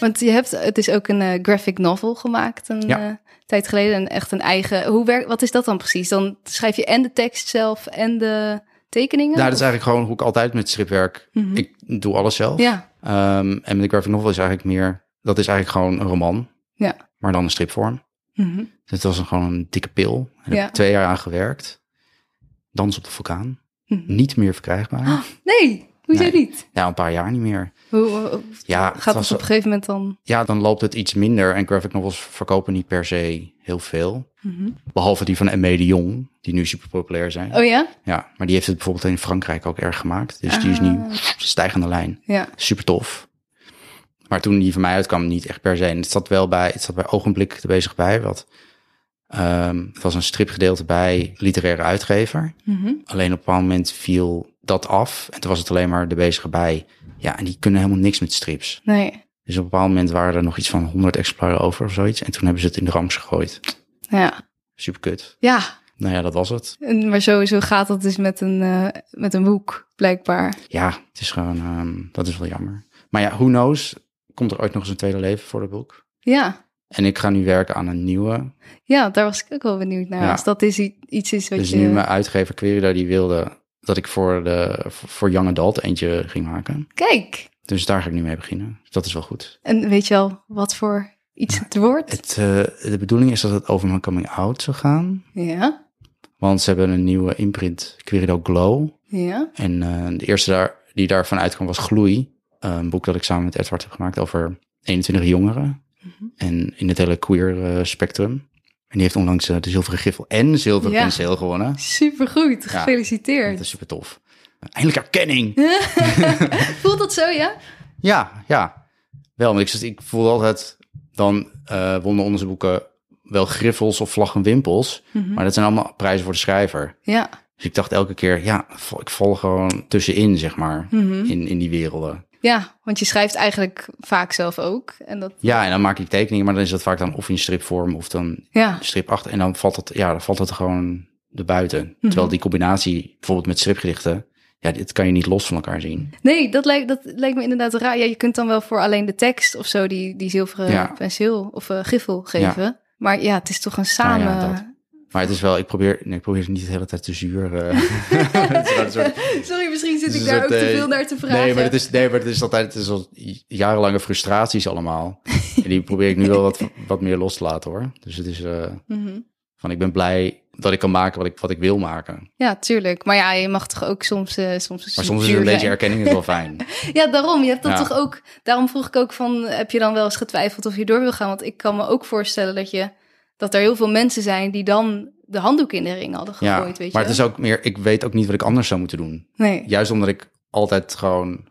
Speaker 2: Want je hebt, het is ook een eh, graphic novel gemaakt een
Speaker 1: Ja.
Speaker 2: eh, tijd geleden. En echt een eigen. Hoe werkt, wat is dat dan precies? Dan schrijf je en de tekst zelf en de tekeningen?
Speaker 1: Nou, dat is eigenlijk gewoon hoe ik altijd met stripwerk...
Speaker 2: Mhm.
Speaker 1: Ik doe alles zelf.
Speaker 2: Ja,
Speaker 1: Ehm, en met de graphic novel is eigenlijk meer... Dat is eigenlijk gewoon een roman.
Speaker 2: Ja.
Speaker 1: Maar dan een stripvorm.
Speaker 2: Mhm.
Speaker 1: Dus dat was een- gewoon een dikke pil. En daar
Speaker 2: Ja.
Speaker 1: heb ik twee jaar aan gewerkt. Dans op de vulkaan.
Speaker 2: Mhm.
Speaker 1: Niet meer verkrijgbaar.
Speaker 2: Nee, hoezo
Speaker 1: Nee.
Speaker 2: niet?
Speaker 1: Ja, een paar jaar niet meer.
Speaker 2: Hoe, hoe-
Speaker 1: Ja, het
Speaker 2: gaat het
Speaker 1: was-
Speaker 2: op een gegeven moment dan?
Speaker 1: ja, dan loopt het iets minder. En graphic novels verkopen niet per se heel veel.
Speaker 2: Mhm.
Speaker 1: Behalve die van Aimé de Jong, die nu super populair zijn.
Speaker 2: Oh ja?
Speaker 1: Ja, maar die heeft het bijvoorbeeld in Frankrijk ook erg gemaakt. Dus die is nu
Speaker 2: Ah.
Speaker 1: stijgende lijn.
Speaker 2: Ja.
Speaker 1: Super tof. Maar toen die van mij uitkwam, niet echt per se. En het zat wel bij, het zat bij ogenblik er bezig bij. Wat, ehm, het was een stripgedeelte bij literaire uitgever.
Speaker 2: Mhm.
Speaker 1: Alleen op een bepaald moment viel dat af. En toen was het alleen maar de bezige bij. Ja, en die kunnen helemaal niks met strips.
Speaker 2: Nee.
Speaker 1: Dus op een bepaald moment waren er nog iets van 100 exemplaren over of zoiets. En toen hebben ze het in de rams gegooid.
Speaker 2: Nou Ja.
Speaker 1: Super kut.
Speaker 2: Ja.
Speaker 1: Nou ja, dat was het.
Speaker 2: En- Maar sowieso gaat dat dus met een, eh, met een boek, blijkbaar.
Speaker 1: Ja, het is gewoon, ehm, dat is wel jammer. Maar ja, who knows, komt er ooit nog eens een tweede leven voor dat boek?
Speaker 2: Ja.
Speaker 1: En ik ga nu werken aan een nieuwe.
Speaker 2: ja, daar was ik ook wel benieuwd naar.
Speaker 1: Ja.
Speaker 2: Als dat is i- iets is wat
Speaker 1: Dus
Speaker 2: je...
Speaker 1: nu mijn uitgever Querida, die wilde dat ik voor, de, voor Young Adult eentje ging maken.
Speaker 2: Kijk,
Speaker 1: Dus daar ga ik nu mee beginnen. Dus dat is wel goed.
Speaker 2: en weet je al wat voor iets het wordt?
Speaker 1: Het, eh, de bedoeling is dat het over mijn coming out zou gaan.
Speaker 2: Ja,
Speaker 1: Want ze hebben een nieuwe imprint, Querido Glow.
Speaker 2: ja.
Speaker 1: En eh, de eerste daar, die daarvan uitkwam was Gloei. eh, Een boek dat ik samen met Edward heb gemaakt over 21 jongeren.
Speaker 2: Mhm.
Speaker 1: En in het hele queer eh, spectrum. En die heeft onlangs eh, de Zilveren Griffel en Zilveren
Speaker 2: Ja.
Speaker 1: Penseel gewonnen.
Speaker 2: Supergoed,
Speaker 1: Ja.
Speaker 2: gefeliciteerd.
Speaker 1: Dat is super tof. Eindelijk erkenning!
Speaker 2: Voelt dat zo, ja?
Speaker 1: Ja, ja. Wel, want ik, ik voel altijd, dan eh wonnen onze boeken wel griffels of vlaggen wimpels.
Speaker 2: Mhm.
Speaker 1: Maar dat zijn allemaal prijzen voor de schrijver.
Speaker 2: Ja,
Speaker 1: Dus ik dacht elke keer, ja, vo- ik val gewoon tussenin, zeg maar,
Speaker 2: Mhm.
Speaker 1: in, in die werelden.
Speaker 2: ja want je schrijft eigenlijk vaak zelf ook. En dat,
Speaker 1: Ja, en dan maak ik tekeningen, maar dan is dat vaak dan of in stripvorm of dan
Speaker 2: ja,
Speaker 1: strip achter. En dan valt het, ja, dan valt het gewoon erbuiten.
Speaker 2: Mhm.
Speaker 1: Terwijl die combinatie, bijvoorbeeld met stripgedichten, ja, dit kan je niet los van elkaar zien.
Speaker 2: nee, dat lijkt, dat lijkt me inderdaad raar. Ja, je kunt dan wel voor alleen de tekst of zo die, die zilveren
Speaker 1: Ja.
Speaker 2: penseel of eh, giffel geven. Maar ja, het is toch een
Speaker 1: Nou
Speaker 2: samen...
Speaker 1: ja, dat. Maar het is wel, ik probeer, nee, ik probeer het niet de hele tijd te zuur. eh. Het is wel een soort-
Speaker 2: Sorry, misschien zit
Speaker 1: het is
Speaker 2: ik
Speaker 1: een
Speaker 2: daar ook
Speaker 1: soort,
Speaker 2: te
Speaker 1: eh,
Speaker 2: veel naar te vragen.
Speaker 1: Nee, maar het is, nee, maar het is altijd het is al jarenlange frustraties allemaal. en die probeer ik nu wel wat, wat meer los te laten hoor. Dus het is eh,
Speaker 2: Mhm.
Speaker 1: van, ik ben blij dat ik kan maken wat ik, wat ik wil maken.
Speaker 2: Ja, tuurlijk. Maar ja, je mag toch ook soms... eh, soms
Speaker 1: Maar soms is
Speaker 2: zuur
Speaker 1: een beetje
Speaker 2: zijn.
Speaker 1: erkenning het wel fijn.
Speaker 2: Ja, daarom. Je hebt dat
Speaker 1: Ja.
Speaker 2: toch ook. Daarom vroeg ik ook van: heb je dan wel eens getwijfeld of je door wil gaan? Want ik kan me ook voorstellen dat je dat er heel veel mensen zijn die dan de handdoek in de ring hadden gegooid. weet je?
Speaker 1: maar het is ook meer, ik weet ook niet wat ik anders zou moeten doen.
Speaker 2: nee.
Speaker 1: Juist omdat ik altijd gewoon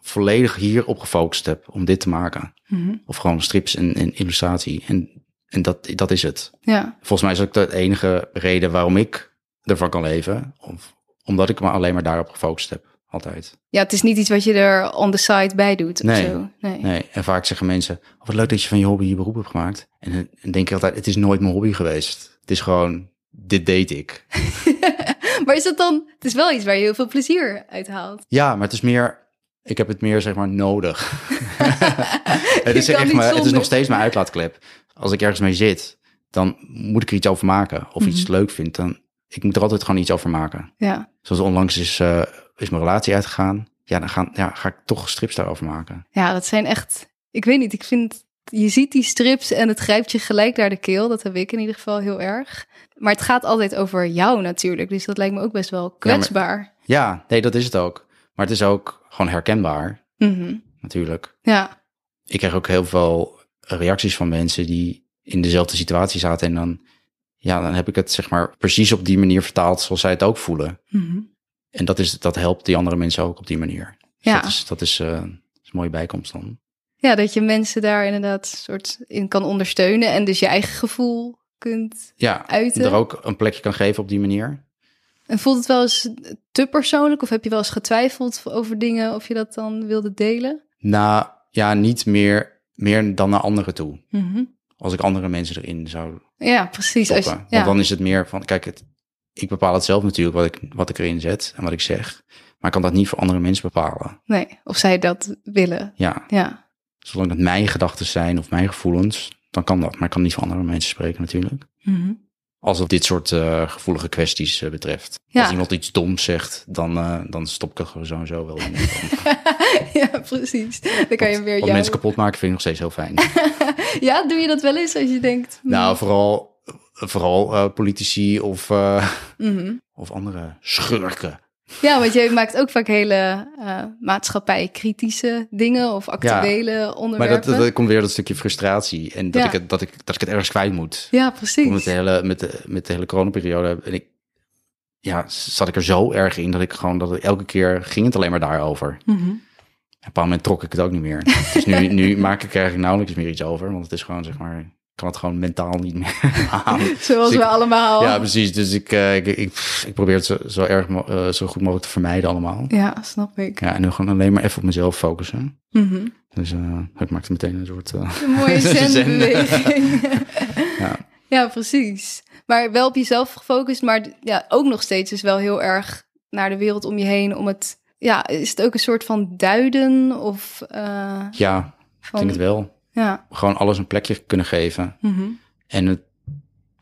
Speaker 1: volledig hierop gefocust heb om dit te maken.
Speaker 2: Mhm.
Speaker 1: Of gewoon strips en, en illustratie. En, en dat, dat is het.
Speaker 2: ja.
Speaker 1: Volgens mij is ook de enige reden waarom ik ervan kan leven. Of, omdat ik me alleen maar daarop gefocust heb. Altijd.
Speaker 2: ja, het is niet iets wat je er on the side bij doet.
Speaker 1: Nee.
Speaker 2: Of zo. Nee.
Speaker 1: Nee, en vaak zeggen mensen, oh, wat leuk dat je van je hobby je beroep hebt gemaakt. En, dan- en denk ik altijd, het is nooit mijn hobby geweest. Het is gewoon, dit deed ik.
Speaker 2: Maar is dat dan? Het is wel iets waar je heel veel plezier uit haalt.
Speaker 1: Ja, maar het is meer. Ik heb het meer zeg maar nodig. het, is
Speaker 2: kan
Speaker 1: echt
Speaker 2: niet
Speaker 1: mijn, het is
Speaker 2: zonder.
Speaker 1: nog steeds mijn uitlaatklep. Als ik ergens mee zit, dan moet ik er iets over maken. Of
Speaker 2: Mhm.
Speaker 1: iets leuk vind. Dan, ik moet er altijd gewoon iets over maken.
Speaker 2: Ja.
Speaker 1: Zoals onlangs is, eh, is mijn relatie uitgegaan. Ja, dan gaan, ja, ga ik toch strips daarover maken.
Speaker 2: Ja, dat zijn echt. Ik weet niet. Ik vind. Je ziet die strips en het grijpt je gelijk naar de keel. Dat heb ik in ieder geval heel erg. Maar het gaat altijd over jou natuurlijk. Dus dat lijkt me ook best wel kwetsbaar.
Speaker 1: Ja, nee, dat is het ook. Maar het is ook gewoon herkenbaar,
Speaker 2: Mhm.
Speaker 1: natuurlijk.
Speaker 2: Ja,
Speaker 1: ik kreeg ook heel veel reacties van mensen die in dezelfde situatie zaten. En dan, ja, dan heb ik het zeg maar precies op die manier vertaald zoals zij het ook voelen.
Speaker 2: Mhm.
Speaker 1: En dat, is, dat helpt die andere mensen ook op die manier. Dus
Speaker 2: Ja.
Speaker 1: Dat is, dat is, eh, is een mooie bijkomst dan.
Speaker 2: ja dat je mensen daar inderdaad soort in kan ondersteunen en dus je eigen gevoel kunt.
Speaker 1: Ja,
Speaker 2: Uiten.
Speaker 1: er ook een plekje kan geven op die manier.
Speaker 2: En voelt het wel eens te persoonlijk of heb je wel eens getwijfeld over dingen of je dat dan wilde delen?
Speaker 1: Nou, ja, niet meer, meer dan naar anderen toe.
Speaker 2: Mhm.
Speaker 1: Als ik andere mensen erin zou
Speaker 2: Ja, precies. Dus Als je-
Speaker 1: stoppen.
Speaker 2: ja.
Speaker 1: Want dan is het meer van, kijk, het, ik bepaal het zelf natuurlijk wat ik, wat ik erin zet en wat ik zeg. Maar ik kan dat niet voor andere mensen bepalen.
Speaker 2: Nee, of zij dat willen.
Speaker 1: Ja,
Speaker 2: Ja.
Speaker 1: Zolang het mijn gedachten zijn of mijn gevoelens, dan kan dat. Maar ik kan niet van andere mensen spreken natuurlijk.
Speaker 2: Mhm.
Speaker 1: Als het dit soort eh, gevoelige kwesties eh, betreft.
Speaker 2: Ja.
Speaker 1: Als iemand iets doms zegt, dan, eh, dan stop ik er gewoon zo en zo wel in. Want-
Speaker 2: ja, precies. Dan kan je weer
Speaker 1: want
Speaker 2: jouw...
Speaker 1: mensen kapot maken vind ik nog steeds heel fijn.
Speaker 2: Ja, doe je dat wel eens als je denkt... hm,
Speaker 1: nou, vooral, vooral eh, politici of, eh,
Speaker 2: mhm.
Speaker 1: of andere schurken.
Speaker 2: Ja, want jij maakt ook vaak hele eh, maatschappij-kritische dingen of actuele
Speaker 1: Maar
Speaker 2: onderwerpen.
Speaker 1: dat, dat, komt weer dat stukje frustratie. En dat,
Speaker 2: Ja.
Speaker 1: ik, het, dat, ik, dat ik het ergens kwijt moet.
Speaker 2: Ja,
Speaker 1: Omdat
Speaker 2: precies.
Speaker 1: de hele, met, de, met de hele coronaperiode en ik, ja, zat ik er zo erg in dat ik gewoon, dat het- elke keer ging het alleen maar daarover. Op
Speaker 2: Mhm.
Speaker 1: een bepaald moment trok ik het ook niet meer. Dus nu, nu maak ik er eigenlijk nauwelijks meer iets over, want het is gewoon, zeg maar, ik kan het gewoon mentaal niet meer aan.
Speaker 2: Zoals
Speaker 1: Dus ik-
Speaker 2: we allemaal.
Speaker 1: Ja,
Speaker 2: Ja,
Speaker 1: precies. Dus ik, eh, ik, ik, pff, ik probeer het zo, zo, erg, mo- eh, zo goed mogelijk te vermijden allemaal.
Speaker 2: snap ik.
Speaker 1: Ja, en dan gewoon alleen maar even op mezelf focussen.
Speaker 2: Mhm.
Speaker 1: Dus eh, ik maakte meteen een soort... eh,
Speaker 2: Een mooie
Speaker 1: Zen.
Speaker 2: zenbeweging.
Speaker 1: Ja.
Speaker 2: ja, precies. Maar wel op jezelf gefocust, maar d- ja, ook nog steeds is wel heel erg naar de wereld om je heen. Om het, ja, is het ook een soort van duiden of eh,
Speaker 1: Ja, ik
Speaker 2: van,
Speaker 1: denk het wel.
Speaker 2: ja,
Speaker 1: Gewoon alles een plekje kunnen geven
Speaker 2: mhm.
Speaker 1: en het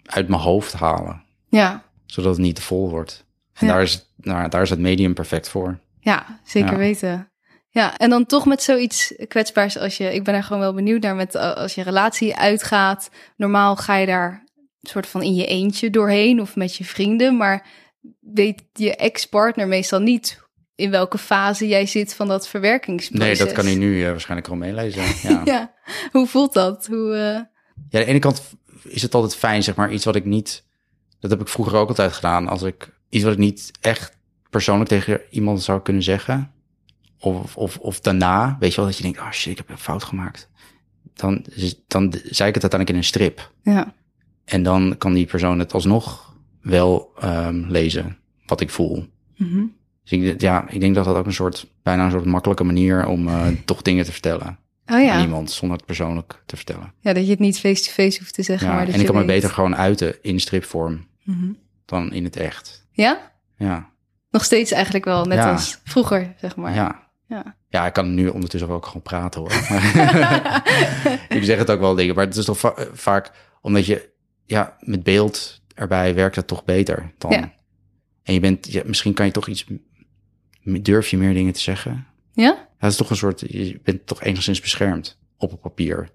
Speaker 1: uit mijn hoofd halen,
Speaker 2: ja,
Speaker 1: zodat het niet te vol wordt. En
Speaker 2: Ja.
Speaker 1: daar, is, nou, daar is het medium perfect voor.
Speaker 2: ja, zeker
Speaker 1: Ja.
Speaker 2: weten. Ja, en dan toch met zoiets kwetsbaars als je, ik ben er gewoon wel benieuwd naar met eh, als je relatie uitgaat. Normaal ga je daar een soort van in je eentje doorheen of met je vrienden, maar weet je ex-partner meestal niet in welke fase jij zit van dat verwerkingsproces.
Speaker 1: Nee, dat kan hij nu eh, waarschijnlijk al meelezen. Ja.
Speaker 2: Ja, hoe voelt dat? Hoe, eh,
Speaker 1: Ja, aan de ene kant is het altijd fijn, zeg maar, iets wat ik niet... Dat heb ik vroeger ook altijd gedaan. Als ik iets wat ik niet echt persoonlijk tegen iemand zou kunnen zeggen... Of, of, of daarna, weet je wel, dat je denkt... Oh shit, ik heb een fout gemaakt. Dan, is- dan zei ik het uiteindelijk in een strip.
Speaker 2: ja,
Speaker 1: En dan kan die persoon het alsnog wel ehm, lezen, wat ik voel.
Speaker 2: Mhm.
Speaker 1: Dus ik, ja, ik denk dat dat ook een soort... bijna een soort makkelijke manier om eh, toch dingen te vertellen
Speaker 2: Oh
Speaker 1: aan
Speaker 2: ja.
Speaker 1: iemand... zonder het persoonlijk te vertellen.
Speaker 2: ja, dat je het niet face-to-face hoeft te zeggen.
Speaker 1: Ja,
Speaker 2: maar dat
Speaker 1: en ik
Speaker 2: je
Speaker 1: kan me
Speaker 2: weet.
Speaker 1: beter gewoon uiten in stripvorm
Speaker 2: Mhm.
Speaker 1: dan in het echt.
Speaker 2: Ja?
Speaker 1: Ja,
Speaker 2: Nog steeds eigenlijk wel, net
Speaker 1: Ja.
Speaker 2: als vroeger, zeg maar.
Speaker 1: ja.
Speaker 2: Ja.
Speaker 1: Ja, ik kan nu ondertussen ook gewoon praten hoor. Maar- ik zeg het ook wel dingen, maar het is toch va- eh, vaak omdat je, ja, met beeld erbij werkt het toch beter dan.
Speaker 2: Ja.
Speaker 1: En je bent, ja, misschien kan je toch iets, m- durf je meer dingen te zeggen?
Speaker 2: Ja?
Speaker 1: Dat is toch een soort, je bent toch enigszins beschermd op het papier.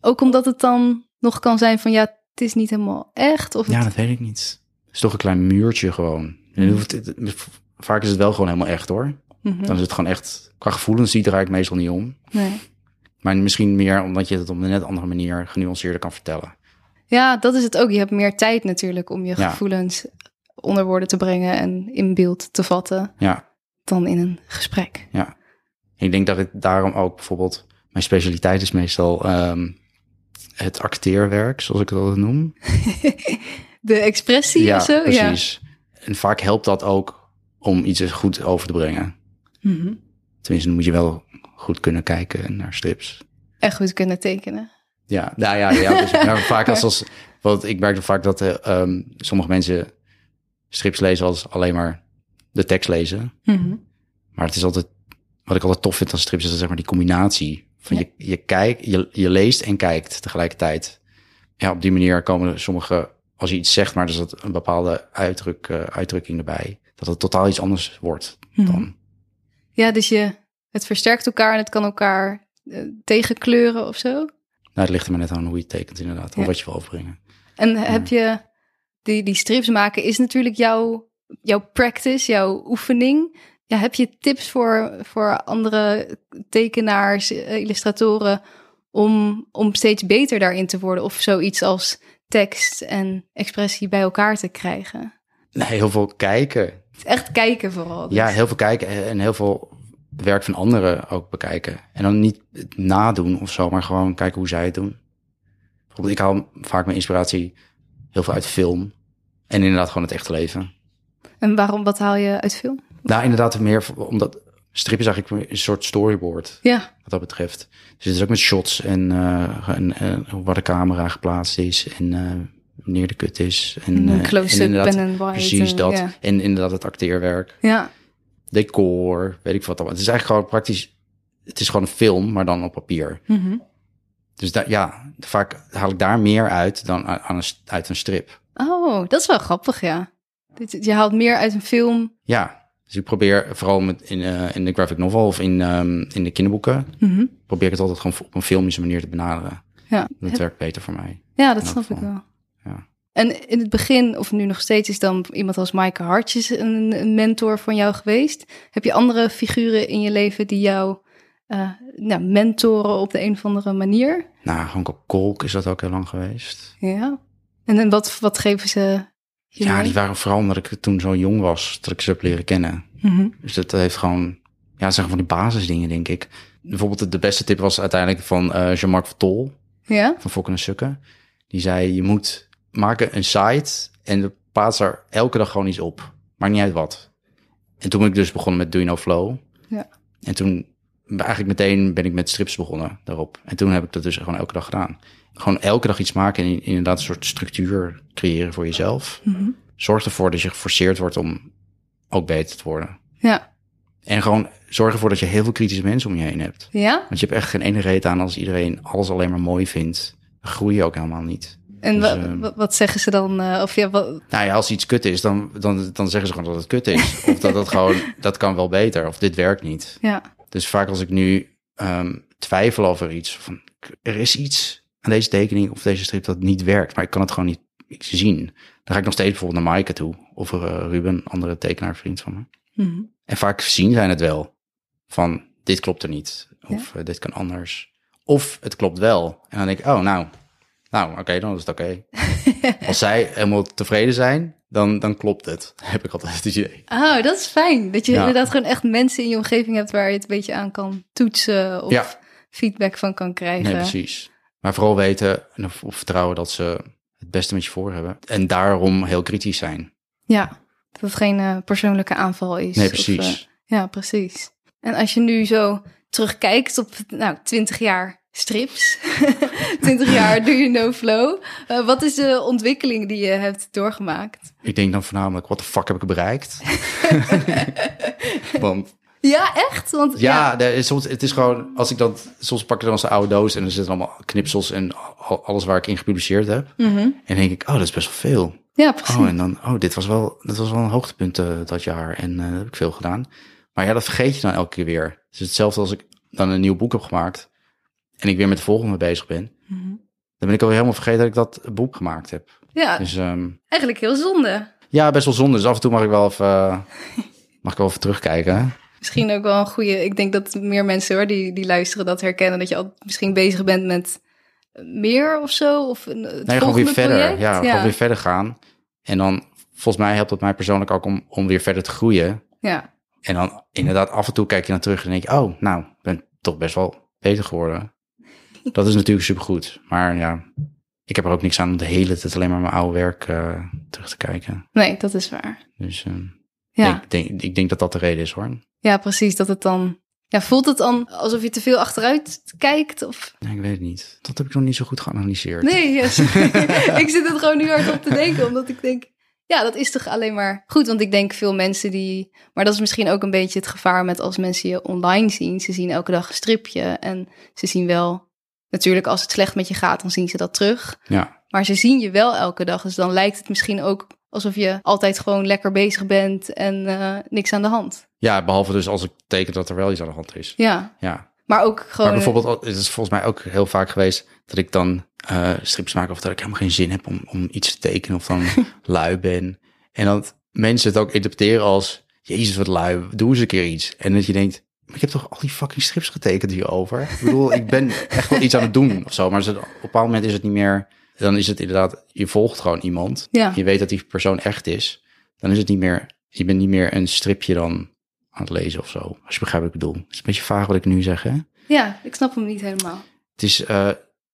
Speaker 2: Ook omdat het dan nog kan zijn van, ja, het is niet helemaal echt. Of
Speaker 1: Ja,
Speaker 2: het-
Speaker 1: dat weet ik niet. Het is toch een klein muurtje gewoon. En het hoeft, het- het- vaak is het wel gewoon helemaal echt hoor.
Speaker 2: Mhm.
Speaker 1: Dan is het gewoon echt, qua gevoelens, die draai ik meestal niet om.
Speaker 2: Nee.
Speaker 1: Maar misschien meer omdat je het op een net andere manier genuanceerder kan vertellen.
Speaker 2: ja, dat is het ook. Je hebt meer tijd natuurlijk om je
Speaker 1: Ja.
Speaker 2: gevoelens onder woorden te brengen en in beeld te vatten
Speaker 1: Ja,
Speaker 2: dan in een gesprek.
Speaker 1: ja. Ik denk dat ik daarom ook bijvoorbeeld... Mijn specialiteit is meestal ehm, het acteerwerk, zoals ik het altijd noem.
Speaker 2: De expressie of zo?
Speaker 1: precies. En vaak helpt dat ook om iets er goed over te brengen.
Speaker 2: Ja. Mhm.
Speaker 1: Tenminste, dan moet je wel goed kunnen kijken naar strips.
Speaker 2: En goed kunnen tekenen.
Speaker 1: Ja, nou ja, ja dus, maar vaak als, als... Want ik merk dan vaak dat eh, ehm, sommige mensen strips lezen als alleen maar de tekst lezen.
Speaker 2: Mhm.
Speaker 1: Maar het is altijd, wat ik altijd tof vind aan strips, is dat, zeg maar die combinatie. Van je, je, kijkt, je, je leest en kijkt tegelijkertijd. Ja, op die manier komen er sommige, als je iets zegt, maar er zit een bepaalde uitdruk, eh, uitdrukking erbij. Dat het totaal iets anders wordt
Speaker 2: Mhm.
Speaker 1: dan.
Speaker 2: Ja, dus je, het versterkt elkaar en het kan elkaar eh, tegenkleuren of zo.
Speaker 1: Nou, het ligt er maar net aan hoe je het tekent inderdaad.
Speaker 2: Ja.
Speaker 1: Of wat je wil overbrengen.
Speaker 2: En heb je die, die strips maken is natuurlijk jouw, jouw practice, jouw oefening. Ja, heb je tips voor, voor andere tekenaars, eh, illustratoren om, om steeds beter daarin te worden of zoiets als tekst en expressie bij elkaar te krijgen?
Speaker 1: Nee, heel veel kijken.
Speaker 2: Het is Echt kijken vooral. dus.
Speaker 1: Ja, heel veel kijken en heel veel werk van anderen ook bekijken. En dan niet het nadoen of zo, maar gewoon kijken hoe zij het doen. Bijvoorbeeld, ik haal vaak mijn inspiratie heel veel uit film. En inderdaad gewoon het echte leven.
Speaker 2: En waarom, wat haal je uit film?
Speaker 1: Nou, inderdaad meer v- omdat strip is eigenlijk meer een soort storyboard
Speaker 2: Ja,
Speaker 1: wat dat betreft. Dus het is ook met shots en, eh, en, en waar de camera geplaatst is en eh, wanneer de kut is. En, eh,
Speaker 2: een
Speaker 1: en
Speaker 2: close-up
Speaker 1: inderdaad
Speaker 2: en een white.
Speaker 1: Precies
Speaker 2: eh,
Speaker 1: dat.
Speaker 2: Ja.
Speaker 1: En inderdaad het acteerwerk
Speaker 2: ja,
Speaker 1: decor, weet ik wat allemaal. Het is eigenlijk gewoon praktisch, het is gewoon een film, maar dan op papier.
Speaker 2: mhm.
Speaker 1: Dus daar, ja, vaak haal ik daar meer uit dan a- aan een, s- uit een strip.
Speaker 2: Oh, dat is wel grappig, ja. Dit- Je haalt meer uit een film.
Speaker 1: Ja, dus ik probeer vooral met in, eh, in de graphic novel of in, ehm, in de kinderboeken,
Speaker 2: Mhm.
Speaker 1: probeer ik het altijd gewoon op een filmische manier te benaderen.
Speaker 2: Ja.
Speaker 1: Dat werkt beter voor mij.
Speaker 2: Ja, dat
Speaker 1: elk
Speaker 2: snap ik
Speaker 1: geval.
Speaker 2: wel.
Speaker 1: Ja.
Speaker 2: En in het begin, of nu nog steeds, is dan iemand als Maaike Hartjes een, een mentor van jou geweest. Heb je andere figuren in je leven die jou eh, nou, mentoren op de een of andere manier?
Speaker 1: Nou, Hanko Kolk is dat ook heel lang geweest.
Speaker 2: Ja. En, en wat, wat geven ze je
Speaker 1: Ja,
Speaker 2: mee?
Speaker 1: die waren vooral omdat ik toen zo jong was, dat ik ze heb leren kennen.
Speaker 2: Mhm.
Speaker 1: Dus dat heeft gewoon, ja, het zijn gewoon die basisdingen, denk ik. Bijvoorbeeld de- de beste tip was uiteindelijk van eh Jean-Marc Vertol.
Speaker 2: Ja?
Speaker 1: van Fokken en Sukken. Die zei, je moet maken een site en plaats er elke dag gewoon iets op. Maakt niet uit wat. En toen ben ik dus begonnen met Do You Know Flow.
Speaker 2: Ja.
Speaker 1: En toen eigenlijk meteen ben ik met strips begonnen daarop. En toen heb ik dat dus gewoon elke dag gedaan. Gewoon elke dag iets maken en in- inderdaad een soort structuur creëren voor jezelf. Zorg ervoor dat je geforceerd wordt om ook beter te worden.
Speaker 2: Ja.
Speaker 1: En gewoon zorg ervoor dat je heel veel kritische mensen om je heen hebt.
Speaker 2: Ja?
Speaker 1: Want je hebt echt geen ene reet aan als iedereen alles alleen maar mooi vindt. Dan groei je ook helemaal niet.
Speaker 2: En
Speaker 1: Dus,
Speaker 2: wa-
Speaker 1: ehm,
Speaker 2: wa- wat zeggen ze dan? eh, of ja, wa-
Speaker 1: Nou ja, als iets kut is, dan, dan, dan zeggen ze gewoon dat het kut is. Of dat het gewoon, dat kan wel beter. Of dit werkt niet.
Speaker 2: ja.
Speaker 1: Dus vaak als ik nu ehm, twijfel over iets, van er is iets aan deze tekening of deze strip dat niet werkt, maar ik kan het gewoon niet zien. Dan ga ik nog steeds bijvoorbeeld naar Maaike toe of eh, Ruben, een andere tekenaar vriend van me.
Speaker 2: Mhm.
Speaker 1: En vaak zien zij het wel van dit klopt er niet of eh, dit kan anders. Of het klopt wel. En dan denk ik, oh nou, nou oké, dan is het oké. als zij helemaal tevreden zijn, dan, dan klopt het. Heb ik altijd het idee.
Speaker 2: Oh, dat is fijn. Dat je
Speaker 1: Ja.
Speaker 2: inderdaad gewoon echt mensen in je omgeving hebt waar je het een beetje aan kan toetsen of
Speaker 1: Ja.
Speaker 2: feedback van kan krijgen.
Speaker 1: Nee, precies. Maar vooral weten en of, of vertrouwen dat ze het beste met je voor hebben. En daarom heel kritisch zijn.
Speaker 2: Ja, dat het geen eh, persoonlijke aanval is.
Speaker 1: Nee,
Speaker 2: of,
Speaker 1: precies.
Speaker 2: eh, ja, precies. En als je nu zo terugkijkt op nou, 20 jaar strips, 20 jaar Do You Know Flow, eh, wat is de ontwikkeling die je hebt doorgemaakt?
Speaker 1: Ik denk dan voornamelijk, wat de fuck heb ik bereikt? Want
Speaker 2: Ja, echt? Want,
Speaker 1: ja, er is soms, het is gewoon, als ik dat, soms pak ik dan zo'n oude doos en er zitten allemaal knipsels en al- alles waar ik in gepubliceerd heb. En denk ik, oh, dat is best wel veel.
Speaker 2: ja, precies.
Speaker 1: Oh, en dan, oh, dit was wel, dit was wel een hoogtepunt eh, dat jaar. En eh, heb ik veel gedaan. Maar ja, dat vergeet je dan elke keer weer. Het is hetzelfde als ik dan een nieuw boek heb gemaakt. En ik weer met de volgende bezig ben.
Speaker 2: Mhm.
Speaker 1: Dan ben ik alweer helemaal vergeten dat ik dat boek gemaakt heb.
Speaker 2: Ja,
Speaker 1: Dus ehm,
Speaker 2: eigenlijk heel zonde.
Speaker 1: ja, best wel zonde. Dus af en toe mag ik wel even, eh, mag ik wel even terugkijken.
Speaker 2: Misschien ook wel een goede. Ik denk dat meer mensen hoor, die, die luisteren dat herkennen. Dat je al misschien bezig bent met meer of zo. Of een, het
Speaker 1: Nee, gewoon
Speaker 2: volgende
Speaker 1: weer verder.
Speaker 2: project.
Speaker 1: Ja,
Speaker 2: ja.
Speaker 1: gewoon weer verder gaan. En dan, volgens mij helpt het mij persoonlijk ook om, om weer verder te groeien.
Speaker 2: ja.
Speaker 1: En dan inderdaad af en toe kijk je naar terug en denk je, oh, nou, ik ben toch best wel beter geworden. Dat is natuurlijk supergoed. Maar ja, ik heb er ook niks aan om de hele tijd alleen maar mijn oude werk eh, terug te kijken.
Speaker 2: Nee, dat is waar.
Speaker 1: Dus eh,
Speaker 2: Ja.
Speaker 1: ik, denk, ik denk dat dat de reden is hoor.
Speaker 2: ja, precies. Dat het dan. Ja, voelt het dan alsof je te veel achteruit kijkt? Of...
Speaker 1: Nee, ik weet het niet. Dat heb ik nog niet zo goed geanalyseerd.
Speaker 2: Nee, ja, sorry. ik zit het gewoon nu hard op te denken. Omdat ik denk, ja, dat is toch alleen maar goed. Want ik denk veel mensen die. Maar dat is misschien ook een beetje het gevaar met als mensen je online zien. Ze zien elke dag een stripje. En ze zien wel. Natuurlijk, als het slecht met je gaat, dan zien ze dat terug.
Speaker 1: Ja,
Speaker 2: Maar ze zien je wel elke dag. Dus dan lijkt het misschien ook alsof je altijd gewoon lekker bezig bent en eh, niks aan de hand.
Speaker 1: ja behalve dus als ik teken dat er wel iets aan de hand is.
Speaker 2: Ja,
Speaker 1: Ja,
Speaker 2: maar ook gewoon.
Speaker 1: Maar bijvoorbeeld, al- het is volgens mij ook heel vaak geweest dat ik dan eh, strips maak of dat ik helemaal geen zin heb om, om iets te tekenen of dan lui ben. En dat mensen het ook interpreteren als, jezus wat lui, doe eens een keer iets. En dat je denkt, maar ik heb toch al die fucking strips getekend hierover? Ik bedoel, ik ben echt wel iets aan het doen of zo. Maar ze- op een bepaald moment is het niet meer, dan is het inderdaad, je volgt gewoon iemand.
Speaker 2: Ja.
Speaker 1: Je weet dat die persoon echt is. Dan is het niet meer, je bent niet meer een stripje dan aan het lezen of zo. Als je begrijpt wat ik bedoel. Het is een beetje vaag wat ik nu zeg, hè?
Speaker 2: Ja, ik snap hem niet helemaal.
Speaker 1: het is eh,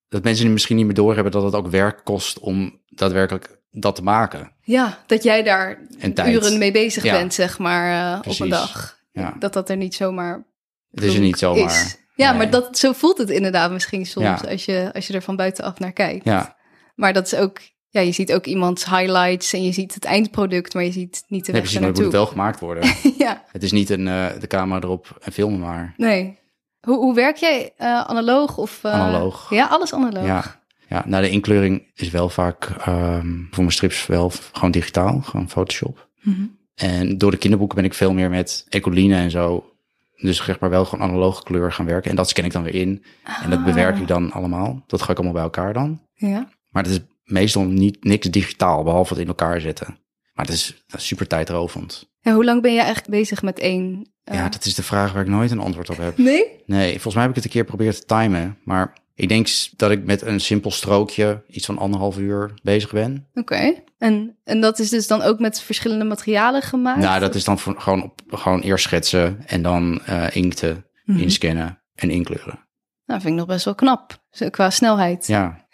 Speaker 1: dat mensen misschien niet meer doorhebben dat het ook werk kost om daadwerkelijk dat te maken.
Speaker 2: Ja, dat jij daar
Speaker 1: En tijd.
Speaker 2: uren mee bezig
Speaker 1: Ja.
Speaker 2: bent, zeg maar, eh, op
Speaker 1: Precies.
Speaker 2: een dag.
Speaker 1: Ja.
Speaker 2: Dat dat er niet zomaar.
Speaker 1: Het is er niet
Speaker 2: ploenk
Speaker 1: zomaar.
Speaker 2: is. Ja,
Speaker 1: Nee.
Speaker 2: maar dat, zo voelt het inderdaad misschien soms
Speaker 1: Ja.
Speaker 2: als, je, als je er van buitenaf naar kijkt.
Speaker 1: Ja,
Speaker 2: Maar dat is ook. Ja, je ziet ook iemands highlights en je ziet het eindproduct, maar je ziet niet de
Speaker 1: nee,
Speaker 2: weg
Speaker 1: precies, maar het
Speaker 2: ernaartoe.
Speaker 1: moet wel gemaakt worden.
Speaker 2: ja,
Speaker 1: het is niet een, eh, de camera erop en filmen maar.
Speaker 2: Nee. Hoe, hoe werk jij? Eh, analoog of... eh,
Speaker 1: Analoog.
Speaker 2: Ja, alles analoog.
Speaker 1: Ja. Ja, nou de inkleuring is wel vaak ehm, voor mijn strips wel f- gewoon digitaal, gewoon Photoshop.
Speaker 2: Mhm.
Speaker 1: En door de kinderboeken ben ik veel meer met ecoline en zo. Dus zeg maar wel gewoon analoge kleur gaan werken. En dat scan ik dan weer in. En
Speaker 2: Ah.
Speaker 1: dat bewerk ik dan allemaal. Dat ga ik allemaal bij elkaar dan.
Speaker 2: Ja.
Speaker 1: Maar het is meestal niet, niks digitaal, behalve het in elkaar zetten. Maar het is, dat is super tijdrovend.
Speaker 2: En hoe lang ben je eigenlijk bezig met één... eh,
Speaker 1: Ja, dat is de vraag waar ik nooit een antwoord op heb.
Speaker 2: Nee?
Speaker 1: Nee, volgens mij heb ik het een keer geprobeerd te timen. Maar ik denk s- dat ik met een simpel strookje iets van anderhalf uur bezig ben.
Speaker 2: Oké. En, en dat is dus dan ook met verschillende materialen gemaakt?
Speaker 1: Nou, dat is dan voor- gewoon, op, gewoon eerst schetsen en dan eh, inkten,
Speaker 2: Mhm.
Speaker 1: inscannen en inkleuren.
Speaker 2: Nou, vind ik nog best wel knap. zo Qua snelheid.
Speaker 1: Ja.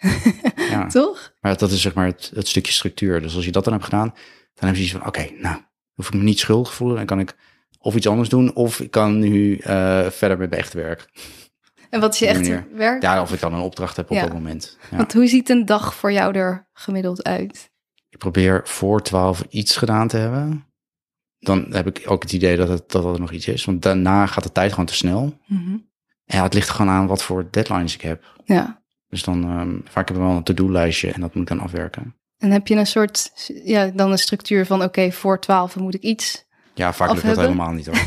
Speaker 1: ja.
Speaker 2: Toch?
Speaker 1: Maar dat is zeg maar het, het stukje structuur. Dus als je dat dan hebt gedaan, dan heb je zoiets van, oké, nou, hoef ik me niet schuldig te voelen. Dan kan ik of iets anders doen, of ik kan nu eh, verder met mijn echte werk.
Speaker 2: En wat is je
Speaker 1: Op die
Speaker 2: echte
Speaker 1: manier.
Speaker 2: werk?
Speaker 1: Ja, of ik dan een opdracht heb op
Speaker 2: Ja.
Speaker 1: dat moment. Ja.
Speaker 2: Want hoe ziet een dag voor jou er gemiddeld uit?
Speaker 1: Ik probeer voor twaalf iets gedaan te hebben. Dan heb ik ook het idee dat het, dat het nog iets is. Want daarna gaat de tijd gewoon te snel.
Speaker 2: Mhm.
Speaker 1: En ja, het ligt er gewoon aan wat voor deadlines ik heb.
Speaker 2: Ja.
Speaker 1: Dus dan ehm, vaak heb ik wel een to-do-lijstje en dat moet ik dan afwerken.
Speaker 2: En heb je een soort, ja, dan een structuur van oké, voor twaalf moet ik iets.
Speaker 1: Ja, vaak lukt dat
Speaker 2: Afhebben?
Speaker 1: helemaal niet hoor.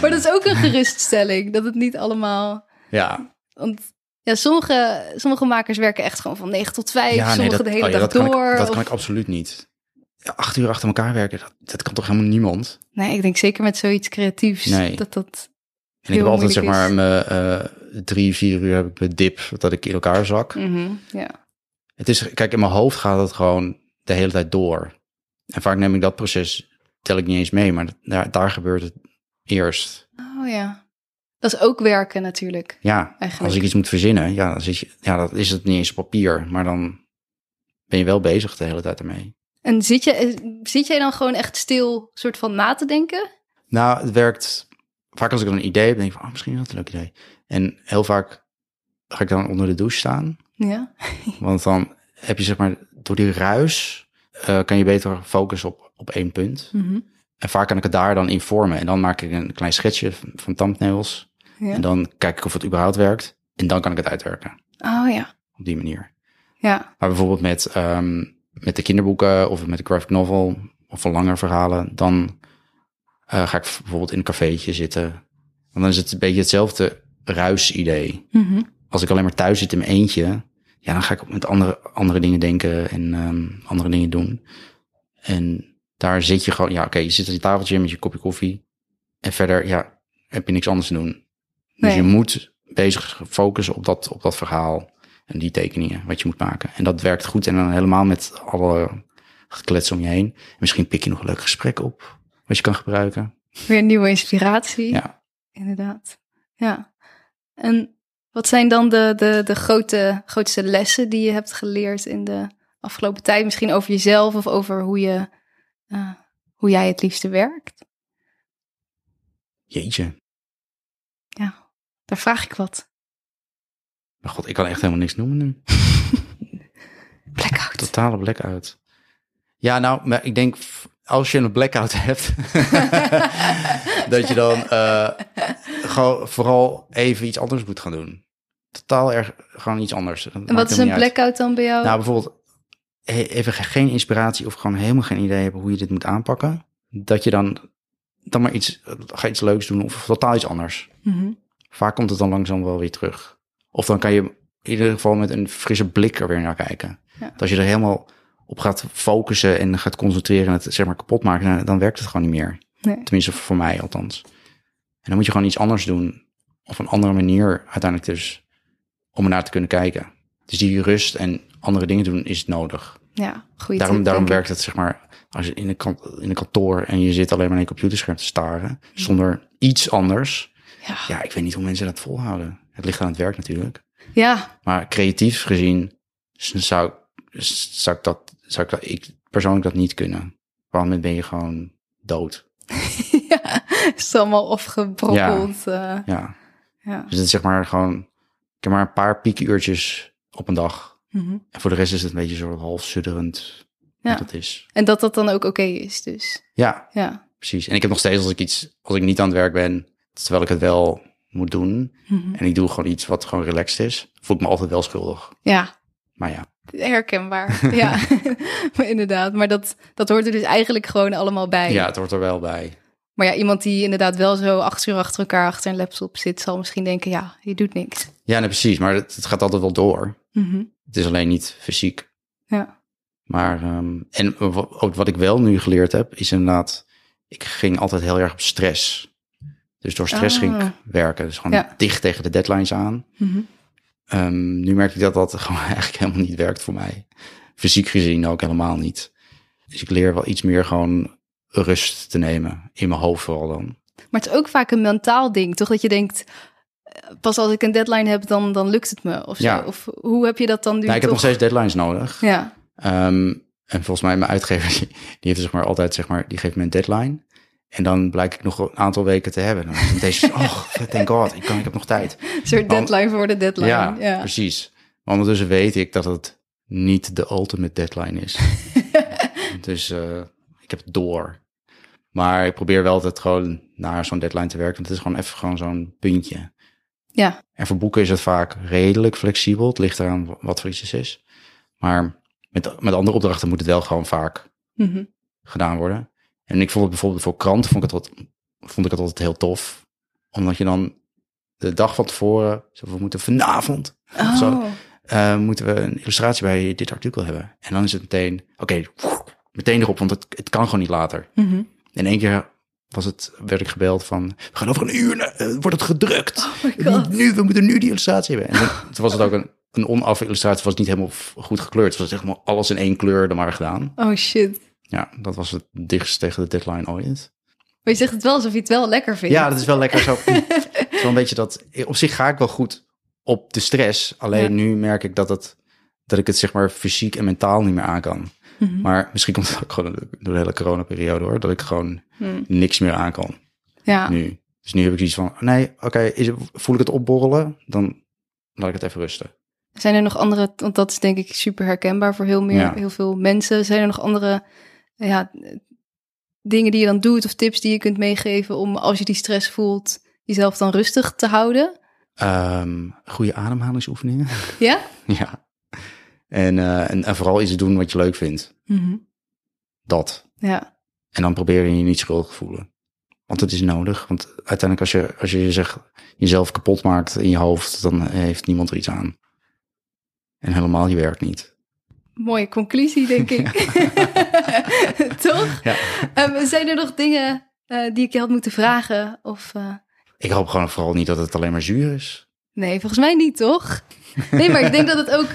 Speaker 2: maar dat is ook een geruststelling, dat het niet allemaal...
Speaker 1: Ja,
Speaker 2: Want ja, sommige, sommige makers werken echt gewoon van 9 tot 5,
Speaker 1: ja
Speaker 2: sommige de hele
Speaker 1: oh ja,
Speaker 2: dag
Speaker 1: dat kan ik-
Speaker 2: door.
Speaker 1: dat
Speaker 2: of-
Speaker 1: kan ik absoluut niet. Ja, Acht uur achter elkaar werken, dat, dat kan toch helemaal niemand?
Speaker 2: Nee, ik denk zeker met zoiets creatiefs
Speaker 1: Nee.
Speaker 2: dat dat...
Speaker 1: En ik heb
Speaker 2: Heel
Speaker 1: altijd zeg
Speaker 2: moeilijk
Speaker 1: maar
Speaker 2: is.
Speaker 1: mijn eh, drie, vier uur heb ik mijn dip dat ik in elkaar zak.
Speaker 2: Mhm, ja.
Speaker 1: Het is, kijk, in mijn hoofd gaat het gewoon de hele tijd door. En vaak neem ik dat proces, tel ik niet eens mee, maar dat- daar, daar gebeurt het eerst.
Speaker 2: Oh ja. Dat is ook werken natuurlijk,
Speaker 1: Ja,
Speaker 2: eigenlijk.
Speaker 1: als ik iets moet verzinnen, ja, dan zit je, ja, dat is het niet eens op papier, maar dan ben je wel bezig de hele tijd ermee.
Speaker 2: En zit, je, zit jij dan gewoon echt stil soort van na te denken?
Speaker 1: Nou, het werkt vaak als ik dan een idee heb, denk ik van, ah, misschien is dat een leuk idee. En heel vaak ga ik dan onder de douche staan,
Speaker 2: Ja.
Speaker 1: want dan heb je zeg maar, door die ruis eh, kan je beter focussen op, op één punt.
Speaker 2: Mhm.
Speaker 1: En vaak kan ik het daar dan in vormen. En dan maak ik een klein schetsje van- van thumbnails.
Speaker 2: Ja.
Speaker 1: En dan kijk ik of het überhaupt werkt. En dan kan ik het uitwerken
Speaker 2: Oh ja.
Speaker 1: op die manier.
Speaker 2: Ja.
Speaker 1: Maar bijvoorbeeld met, ehm, met de kinderboeken of met de graphic novel of een langer verhalen. Dan eh, ga ik bijvoorbeeld in een cafeetje zitten. En dan is het een beetje hetzelfde ruisidee.
Speaker 2: Mhm.
Speaker 1: Als ik alleen maar thuis zit in mijn eentje. Ja, dan ga ik met andere, andere dingen denken en ehm, andere dingen doen. En daar zit je gewoon, ja, oké, je zit aan je tafeltje met je kopje koffie. En verder, ja, heb je niks anders te doen. Dus
Speaker 2: Nee.
Speaker 1: je moet bezig focussen op dat, op dat verhaal en die tekeningen wat je moet maken. En dat werkt goed. En dan helemaal met alle geklets om je heen. Misschien pik je nog een leuk gesprek op, wat je kan gebruiken.
Speaker 2: Weer nieuwe inspiratie.
Speaker 1: Ja.
Speaker 2: Inderdaad. Ja. En wat zijn dan de, de, de grote, grootste lessen die je hebt geleerd in de afgelopen tijd? Misschien over jezelf of over hoe, je, eh, hoe jij het liefste werkt?
Speaker 1: Jeetje,
Speaker 2: Daar vraag ik wat.
Speaker 1: maar god, ik kan echt helemaal niks noemen nu.
Speaker 2: Blackout.
Speaker 1: Totale blackout. Ja, nou, maar ik denk f- als je een blackout hebt, dat je dan eh, gewoon vooral even iets anders moet gaan doen. Totaal erg, gewoon iets anders. Dat
Speaker 2: En
Speaker 1: maakt
Speaker 2: wat is
Speaker 1: helemaal
Speaker 2: een
Speaker 1: niet uit.
Speaker 2: blackout dan bij jou?
Speaker 1: Nou, bijvoorbeeld he- even ge- geen inspiratie of gewoon helemaal geen idee hebben hoe je dit moet aanpakken. Dat je dan, dan maar iets, ga iets leuks doen of totaal iets anders.
Speaker 2: Mhm.
Speaker 1: Vaak komt het dan langzaam wel weer terug. Of dan kan je in ieder geval met een frisse blik er weer naar kijken.
Speaker 2: Ja.
Speaker 1: Want Als je er helemaal op gaat focussen en gaat concentreren en het zeg maar kapot maken, nou, dan werkt het gewoon niet meer.
Speaker 2: Nee.
Speaker 1: Tenminste, voor mij althans. En dan moet je gewoon iets anders doen. Of een andere manier uiteindelijk dus om ernaar te kunnen kijken. Dus die rust en andere dingen doen is nodig.
Speaker 2: Ja, goeie
Speaker 1: Daarom,
Speaker 2: tip,
Speaker 1: daarom
Speaker 2: denk ik.
Speaker 1: werkt het zeg maar als je in een, kant, in een kantoor en je zit alleen maar naar je computerscherm te staren zonder iets anders.
Speaker 2: Ja.
Speaker 1: Ja, ik weet niet hoe mensen dat volhouden. Het ligt aan het werk natuurlijk.
Speaker 2: Ja,
Speaker 1: Maar creatief gezien s- zou, s- zou ik dat, zou ik dat, ik persoonlijk dat niet kunnen. Waarom ben je gewoon dood?
Speaker 2: ja. Het is allemaal afgebrokkeld. eh,
Speaker 1: Ja.
Speaker 2: ja.
Speaker 1: Dus het is zeg maar gewoon, ik heb maar een paar piekuurtjes op een dag.
Speaker 2: Mhm.
Speaker 1: En voor de rest is het een beetje zo half sudderend
Speaker 2: Ja.
Speaker 1: wat dat is.
Speaker 2: En dat dat dan ook oké is, dus.
Speaker 1: Ja,
Speaker 2: Ja.
Speaker 1: precies. En ik heb nog steeds als ik iets, als ik niet aan het werk ben, terwijl ik het wel moet doen.
Speaker 2: Mhm.
Speaker 1: En ik doe gewoon iets wat gewoon relaxed is, voel ik me altijd wel schuldig.
Speaker 2: Ja,
Speaker 1: Maar ja,
Speaker 2: herkenbaar. ja, maar inderdaad. Maar dat, dat hoort er dus eigenlijk gewoon allemaal bij.
Speaker 1: ja het hoort er wel bij.
Speaker 2: Maar ja, iemand die inderdaad wel zo acht uur achter elkaar achter een laptop zit, zal misschien denken, ja, je doet niks.
Speaker 1: Ja, nee, precies. Maar het, het gaat altijd wel door.
Speaker 2: Mhm.
Speaker 1: Het is alleen niet fysiek.
Speaker 2: Ja.
Speaker 1: Maar, ehm, en wa- ook wat ik wel nu geleerd heb, is inderdaad, ik ging altijd heel erg op stress. Dus door stress
Speaker 2: Ah.
Speaker 1: ging ik werken. Dus gewoon
Speaker 2: Ja.
Speaker 1: dicht tegen de deadlines aan.
Speaker 2: Mhm.
Speaker 1: Ehm, nu merk ik dat dat gewoon eigenlijk helemaal niet werkt voor mij. Fysiek gezien ook helemaal niet. Dus ik leer wel iets meer gewoon rust te nemen. In mijn hoofd vooral dan.
Speaker 2: Maar het is ook vaak een mentaal ding, toch? Dat je denkt, eh, pas als ik een deadline heb, dan, dan lukt het me. Of, zo.
Speaker 1: Ja.
Speaker 2: of hoe heb je dat dan nu
Speaker 1: Nou, ik heb nog
Speaker 2: toch?
Speaker 1: steeds deadlines nodig.
Speaker 2: Ja,
Speaker 1: Ehm, en volgens mij mijn uitgever, die, die heeft zeg maar altijd, zeg maar, die geeft me een deadline. En dan blijk ik nog een aantal weken te hebben. Dan is deze, oh, thank god, ik, kan, ik heb nog tijd.
Speaker 2: Een soort deadline voor de deadline.
Speaker 1: Ja,
Speaker 2: Ja,
Speaker 1: precies. Maar ondertussen weet ik dat het niet de ultimate deadline is. dus eh, ik heb het door. Maar ik probeer wel altijd gewoon naar zo'n deadline te werken. Want het is gewoon even gewoon zo'n puntje.
Speaker 2: Ja.
Speaker 1: En voor boeken is het vaak redelijk flexibel. Het ligt eraan wa- wat voor iets het is. Maar met, met andere opdrachten moet het wel gewoon vaak
Speaker 2: Mhm.
Speaker 1: gedaan worden. En ik vond het bijvoorbeeld voor kranten vond ik het, wat, vond ik het altijd heel tof. Omdat je dan de dag van tevoren, zo, we moeten vanavond,
Speaker 2: Oh,
Speaker 1: Zo. eh, moeten we een illustratie bij dit artikel hebben. En dan is het meteen, oké, meteen erop, want het, het kan gewoon niet later.
Speaker 2: Mhm.
Speaker 1: In één keer was het, werd ik gebeld van, we gaan over een uur, naar- eh, wordt het gedrukt.
Speaker 2: oh my
Speaker 1: We
Speaker 2: god.
Speaker 1: moeten Nu, we moeten nu die illustratie hebben. En toen- toen was het ook een, een onaf illustratie. Het was niet helemaal f- goed gekleurd. Het was echt maar alles in één kleur er maar gedaan.
Speaker 2: Oh shit.
Speaker 1: Ja, dat was het dichtst tegen de deadline ooit.
Speaker 2: Maar je zegt het wel alsof je het wel lekker vindt.
Speaker 1: Ja, dat is wel lekker zo. Het is wel een beetje dat... Op zich ga ik wel goed op de stress. Alleen
Speaker 2: Ja.
Speaker 1: nu merk ik dat, het, dat ik het zeg maar fysiek en mentaal niet meer aan kan.
Speaker 2: Mhm.
Speaker 1: Maar misschien komt het ook gewoon door de- door de hele coronaperiode hoor. Dat ik gewoon
Speaker 2: Hmm.
Speaker 1: niks meer aan kan.
Speaker 2: Ja.
Speaker 1: nu. Dus nu heb ik zoiets van, nee, oké, is het- voel ik het opborrelen? Dan laat ik het even rusten.
Speaker 2: Zijn er nog andere, want dat is denk ik super herkenbaar voor heel, meer,
Speaker 1: Ja.
Speaker 2: heel veel mensen. Zijn er nog andere ja, dingen die je dan doet of tips die je kunt meegeven om als je die stress voelt, jezelf dan rustig te houden?
Speaker 1: Ehm, goede ademhalingsoefeningen.
Speaker 2: Ja?
Speaker 1: ja. En, eh, en, en vooral iets doen wat je leuk vindt.
Speaker 2: Mhm.
Speaker 1: Dat.
Speaker 2: Ja.
Speaker 1: En dan probeer je je niet schuldig te voelen. Want het is nodig. Want uiteindelijk als je, als je zeg, jezelf kapot maakt in je hoofd, dan heeft niemand er iets aan. En helemaal je werk niet.
Speaker 2: Mooie conclusie, denk ik. Toch?
Speaker 1: Ja.
Speaker 2: Ehm, zijn er nog dingen eh, die ik je had moeten vragen? Of, eh,
Speaker 1: Ik hoop gewoon vooral niet dat het alleen maar zuur is.
Speaker 2: Nee, volgens mij niet, toch? Nee, maar ik denk dat het ook...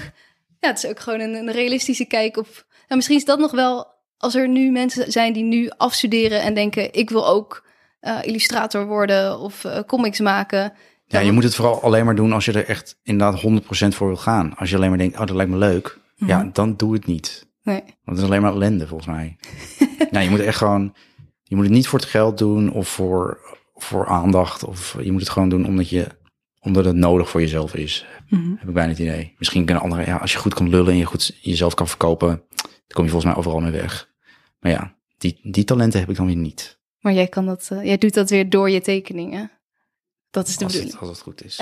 Speaker 2: Ja, het is ook gewoon een, een realistische kijk op... Nou, misschien is dat nog wel... Als er nu mensen zijn die nu afstuderen en denken... ik wil ook eh, illustrator worden of eh, comics maken.
Speaker 1: Ja,
Speaker 2: Dan-
Speaker 1: je moet het vooral alleen maar doen als je er echt inderdaad 100% voor wil gaan. Als je alleen maar denkt, oh, dat lijkt me leuk. Ja, dan doe het niet.
Speaker 2: Nee.
Speaker 1: Want het is alleen maar ellende, volgens mij. nou, je moet echt gewoon... Je moet het niet voor het geld doen of voor, voor aandacht. Of je moet het gewoon doen omdat, je, omdat het nodig voor jezelf is.
Speaker 2: Mhm.
Speaker 1: Heb ik bijna het idee. Misschien kunnen anderen... Ja, als je goed kan lullen en je goed jezelf kan verkopen... dan kom je volgens mij overal mee weg. Maar ja, die, die talenten heb ik dan weer niet.
Speaker 2: Maar jij, kan dat, eh, jij doet dat weer door je tekeningen. Dat is de
Speaker 1: Als
Speaker 2: bedoeling.
Speaker 1: het, als het goed is.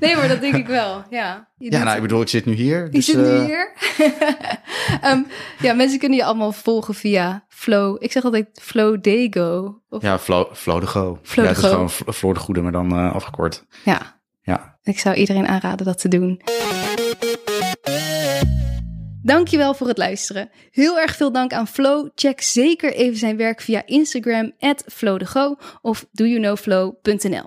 Speaker 2: Nee, maar dat denk ik wel, ja. Je
Speaker 1: ja,
Speaker 2: doet-
Speaker 1: nou, ik bedoel, ik zit nu hier.
Speaker 2: Die
Speaker 1: Dus,
Speaker 2: zit nu
Speaker 1: eh,
Speaker 2: hier. Ehm, ja, mensen kunnen je allemaal volgen via Flow. Ik zeg altijd Flow Dago. Of,
Speaker 1: Ja, Flo, Flo de Go.
Speaker 2: Flo
Speaker 1: ja,
Speaker 2: de
Speaker 1: het is
Speaker 2: Go.
Speaker 1: gewoon Flo- Floor de Goede, maar dan eh, afgekort.
Speaker 2: ja,
Speaker 1: Ja,
Speaker 2: ik zou iedereen aanraden dat te doen. Dankjewel voor het luisteren. Heel erg veel dank aan Flo. Check zeker even zijn werk via Instagram, flowdego of doyouknowflow.nl.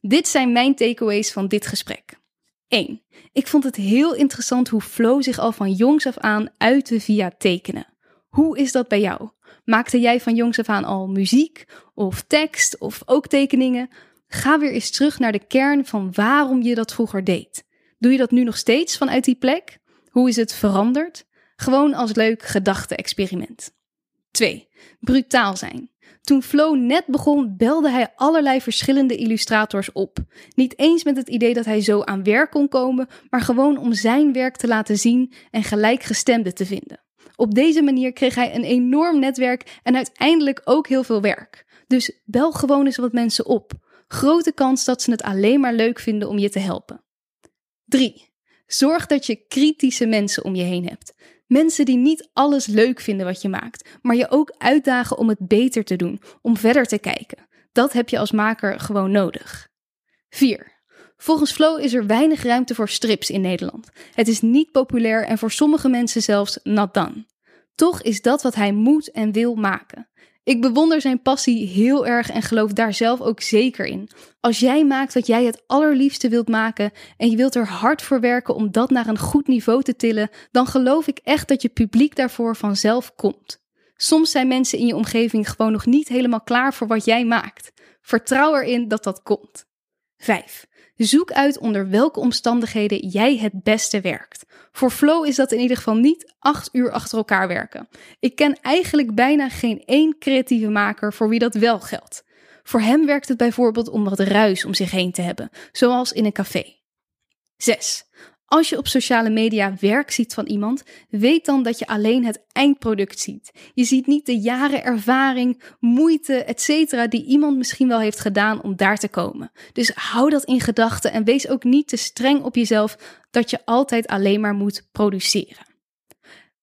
Speaker 2: Dit zijn mijn takeaways van dit gesprek. 1. Ik vond het heel interessant hoe Flo zich al van jongs af aan uitte via tekenen. Hoe is dat bij jou? Maakte jij van jongs af aan al muziek of tekst of ook tekeningen? Ga weer eens terug naar de kern van waarom je dat vroeger deed. Doe je dat nu nog steeds vanuit die plek? Hoe is het veranderd? Gewoon als leuk gedachte-experiment. 2. Brutaal zijn. Toen Flo net begon, belde hij allerlei verschillende illustrators op. Niet eens met het idee dat hij zo aan werk kon komen, maar gewoon om zijn werk te laten zien en gelijkgestemden te vinden. Op deze manier kreeg hij een enorm netwerk en uiteindelijk ook heel veel werk. Dus bel gewoon eens wat mensen op. Grote kans dat ze het alleen maar leuk vinden om je te helpen. 3. Zorg dat je kritische mensen om je heen hebt. Mensen die niet alles leuk vinden wat je maakt, maar je ook uitdagen om het beter te doen, om verder te kijken. Dat heb je als maker gewoon nodig. 4. Volgens Flow is er weinig ruimte voor strips in Nederland. Het is niet populair en voor sommige mensen zelfs not done. Toch is dat wat hij moet en wil maken. Ik bewonder zijn passie heel erg en geloof daar zelf ook zeker in. Als jij maakt wat jij het allerliefste wilt maken en je wilt er hard voor werken om dat naar een goed niveau te tillen, dan geloof ik echt dat je publiek daarvoor vanzelf komt. Soms zijn mensen in je omgeving gewoon nog niet helemaal klaar voor wat jij maakt. Vertrouw erin dat dat komt. Vijf. Zoek uit onder welke omstandigheden jij het beste werkt. Voor Flow is dat in ieder geval niet acht uur achter elkaar werken. Ik ken eigenlijk bijna geen één creatieve maker voor wie dat wel geldt. Voor hem werkt het bijvoorbeeld om wat ruis om zich heen te hebben, zoals in een café. 6. Als je op sociale media werk ziet van iemand, weet dan dat je alleen het eindproduct ziet. Je ziet niet de jaren ervaring, moeite, etc. die iemand misschien wel heeft gedaan om daar te komen. Dus hou dat in gedachten en wees ook niet te streng op jezelf dat je altijd alleen maar moet produceren.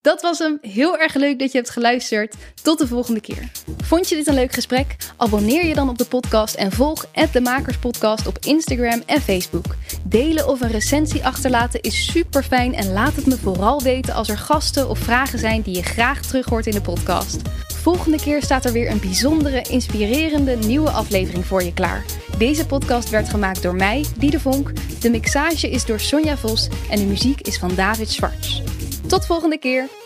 Speaker 2: Dat was hem. Heel erg leuk dat je hebt geluisterd. Tot de volgende keer. Vond je dit een leuk gesprek? Abonneer je dan op de podcast en volg de Makerspodcast op Instagram en Facebook. Delen of een recensie achterlaten is super fijn en laat het me vooral weten als er gasten of vragen zijn die je graag terug hoort in de podcast. Volgende keer staat er weer een bijzondere, inspirerende nieuwe aflevering voor je klaar. Deze podcast werd gemaakt door mij, Diede Vonk. De mixage is door Sonja Vos en de muziek is van David Schwartz. Tot volgende keer!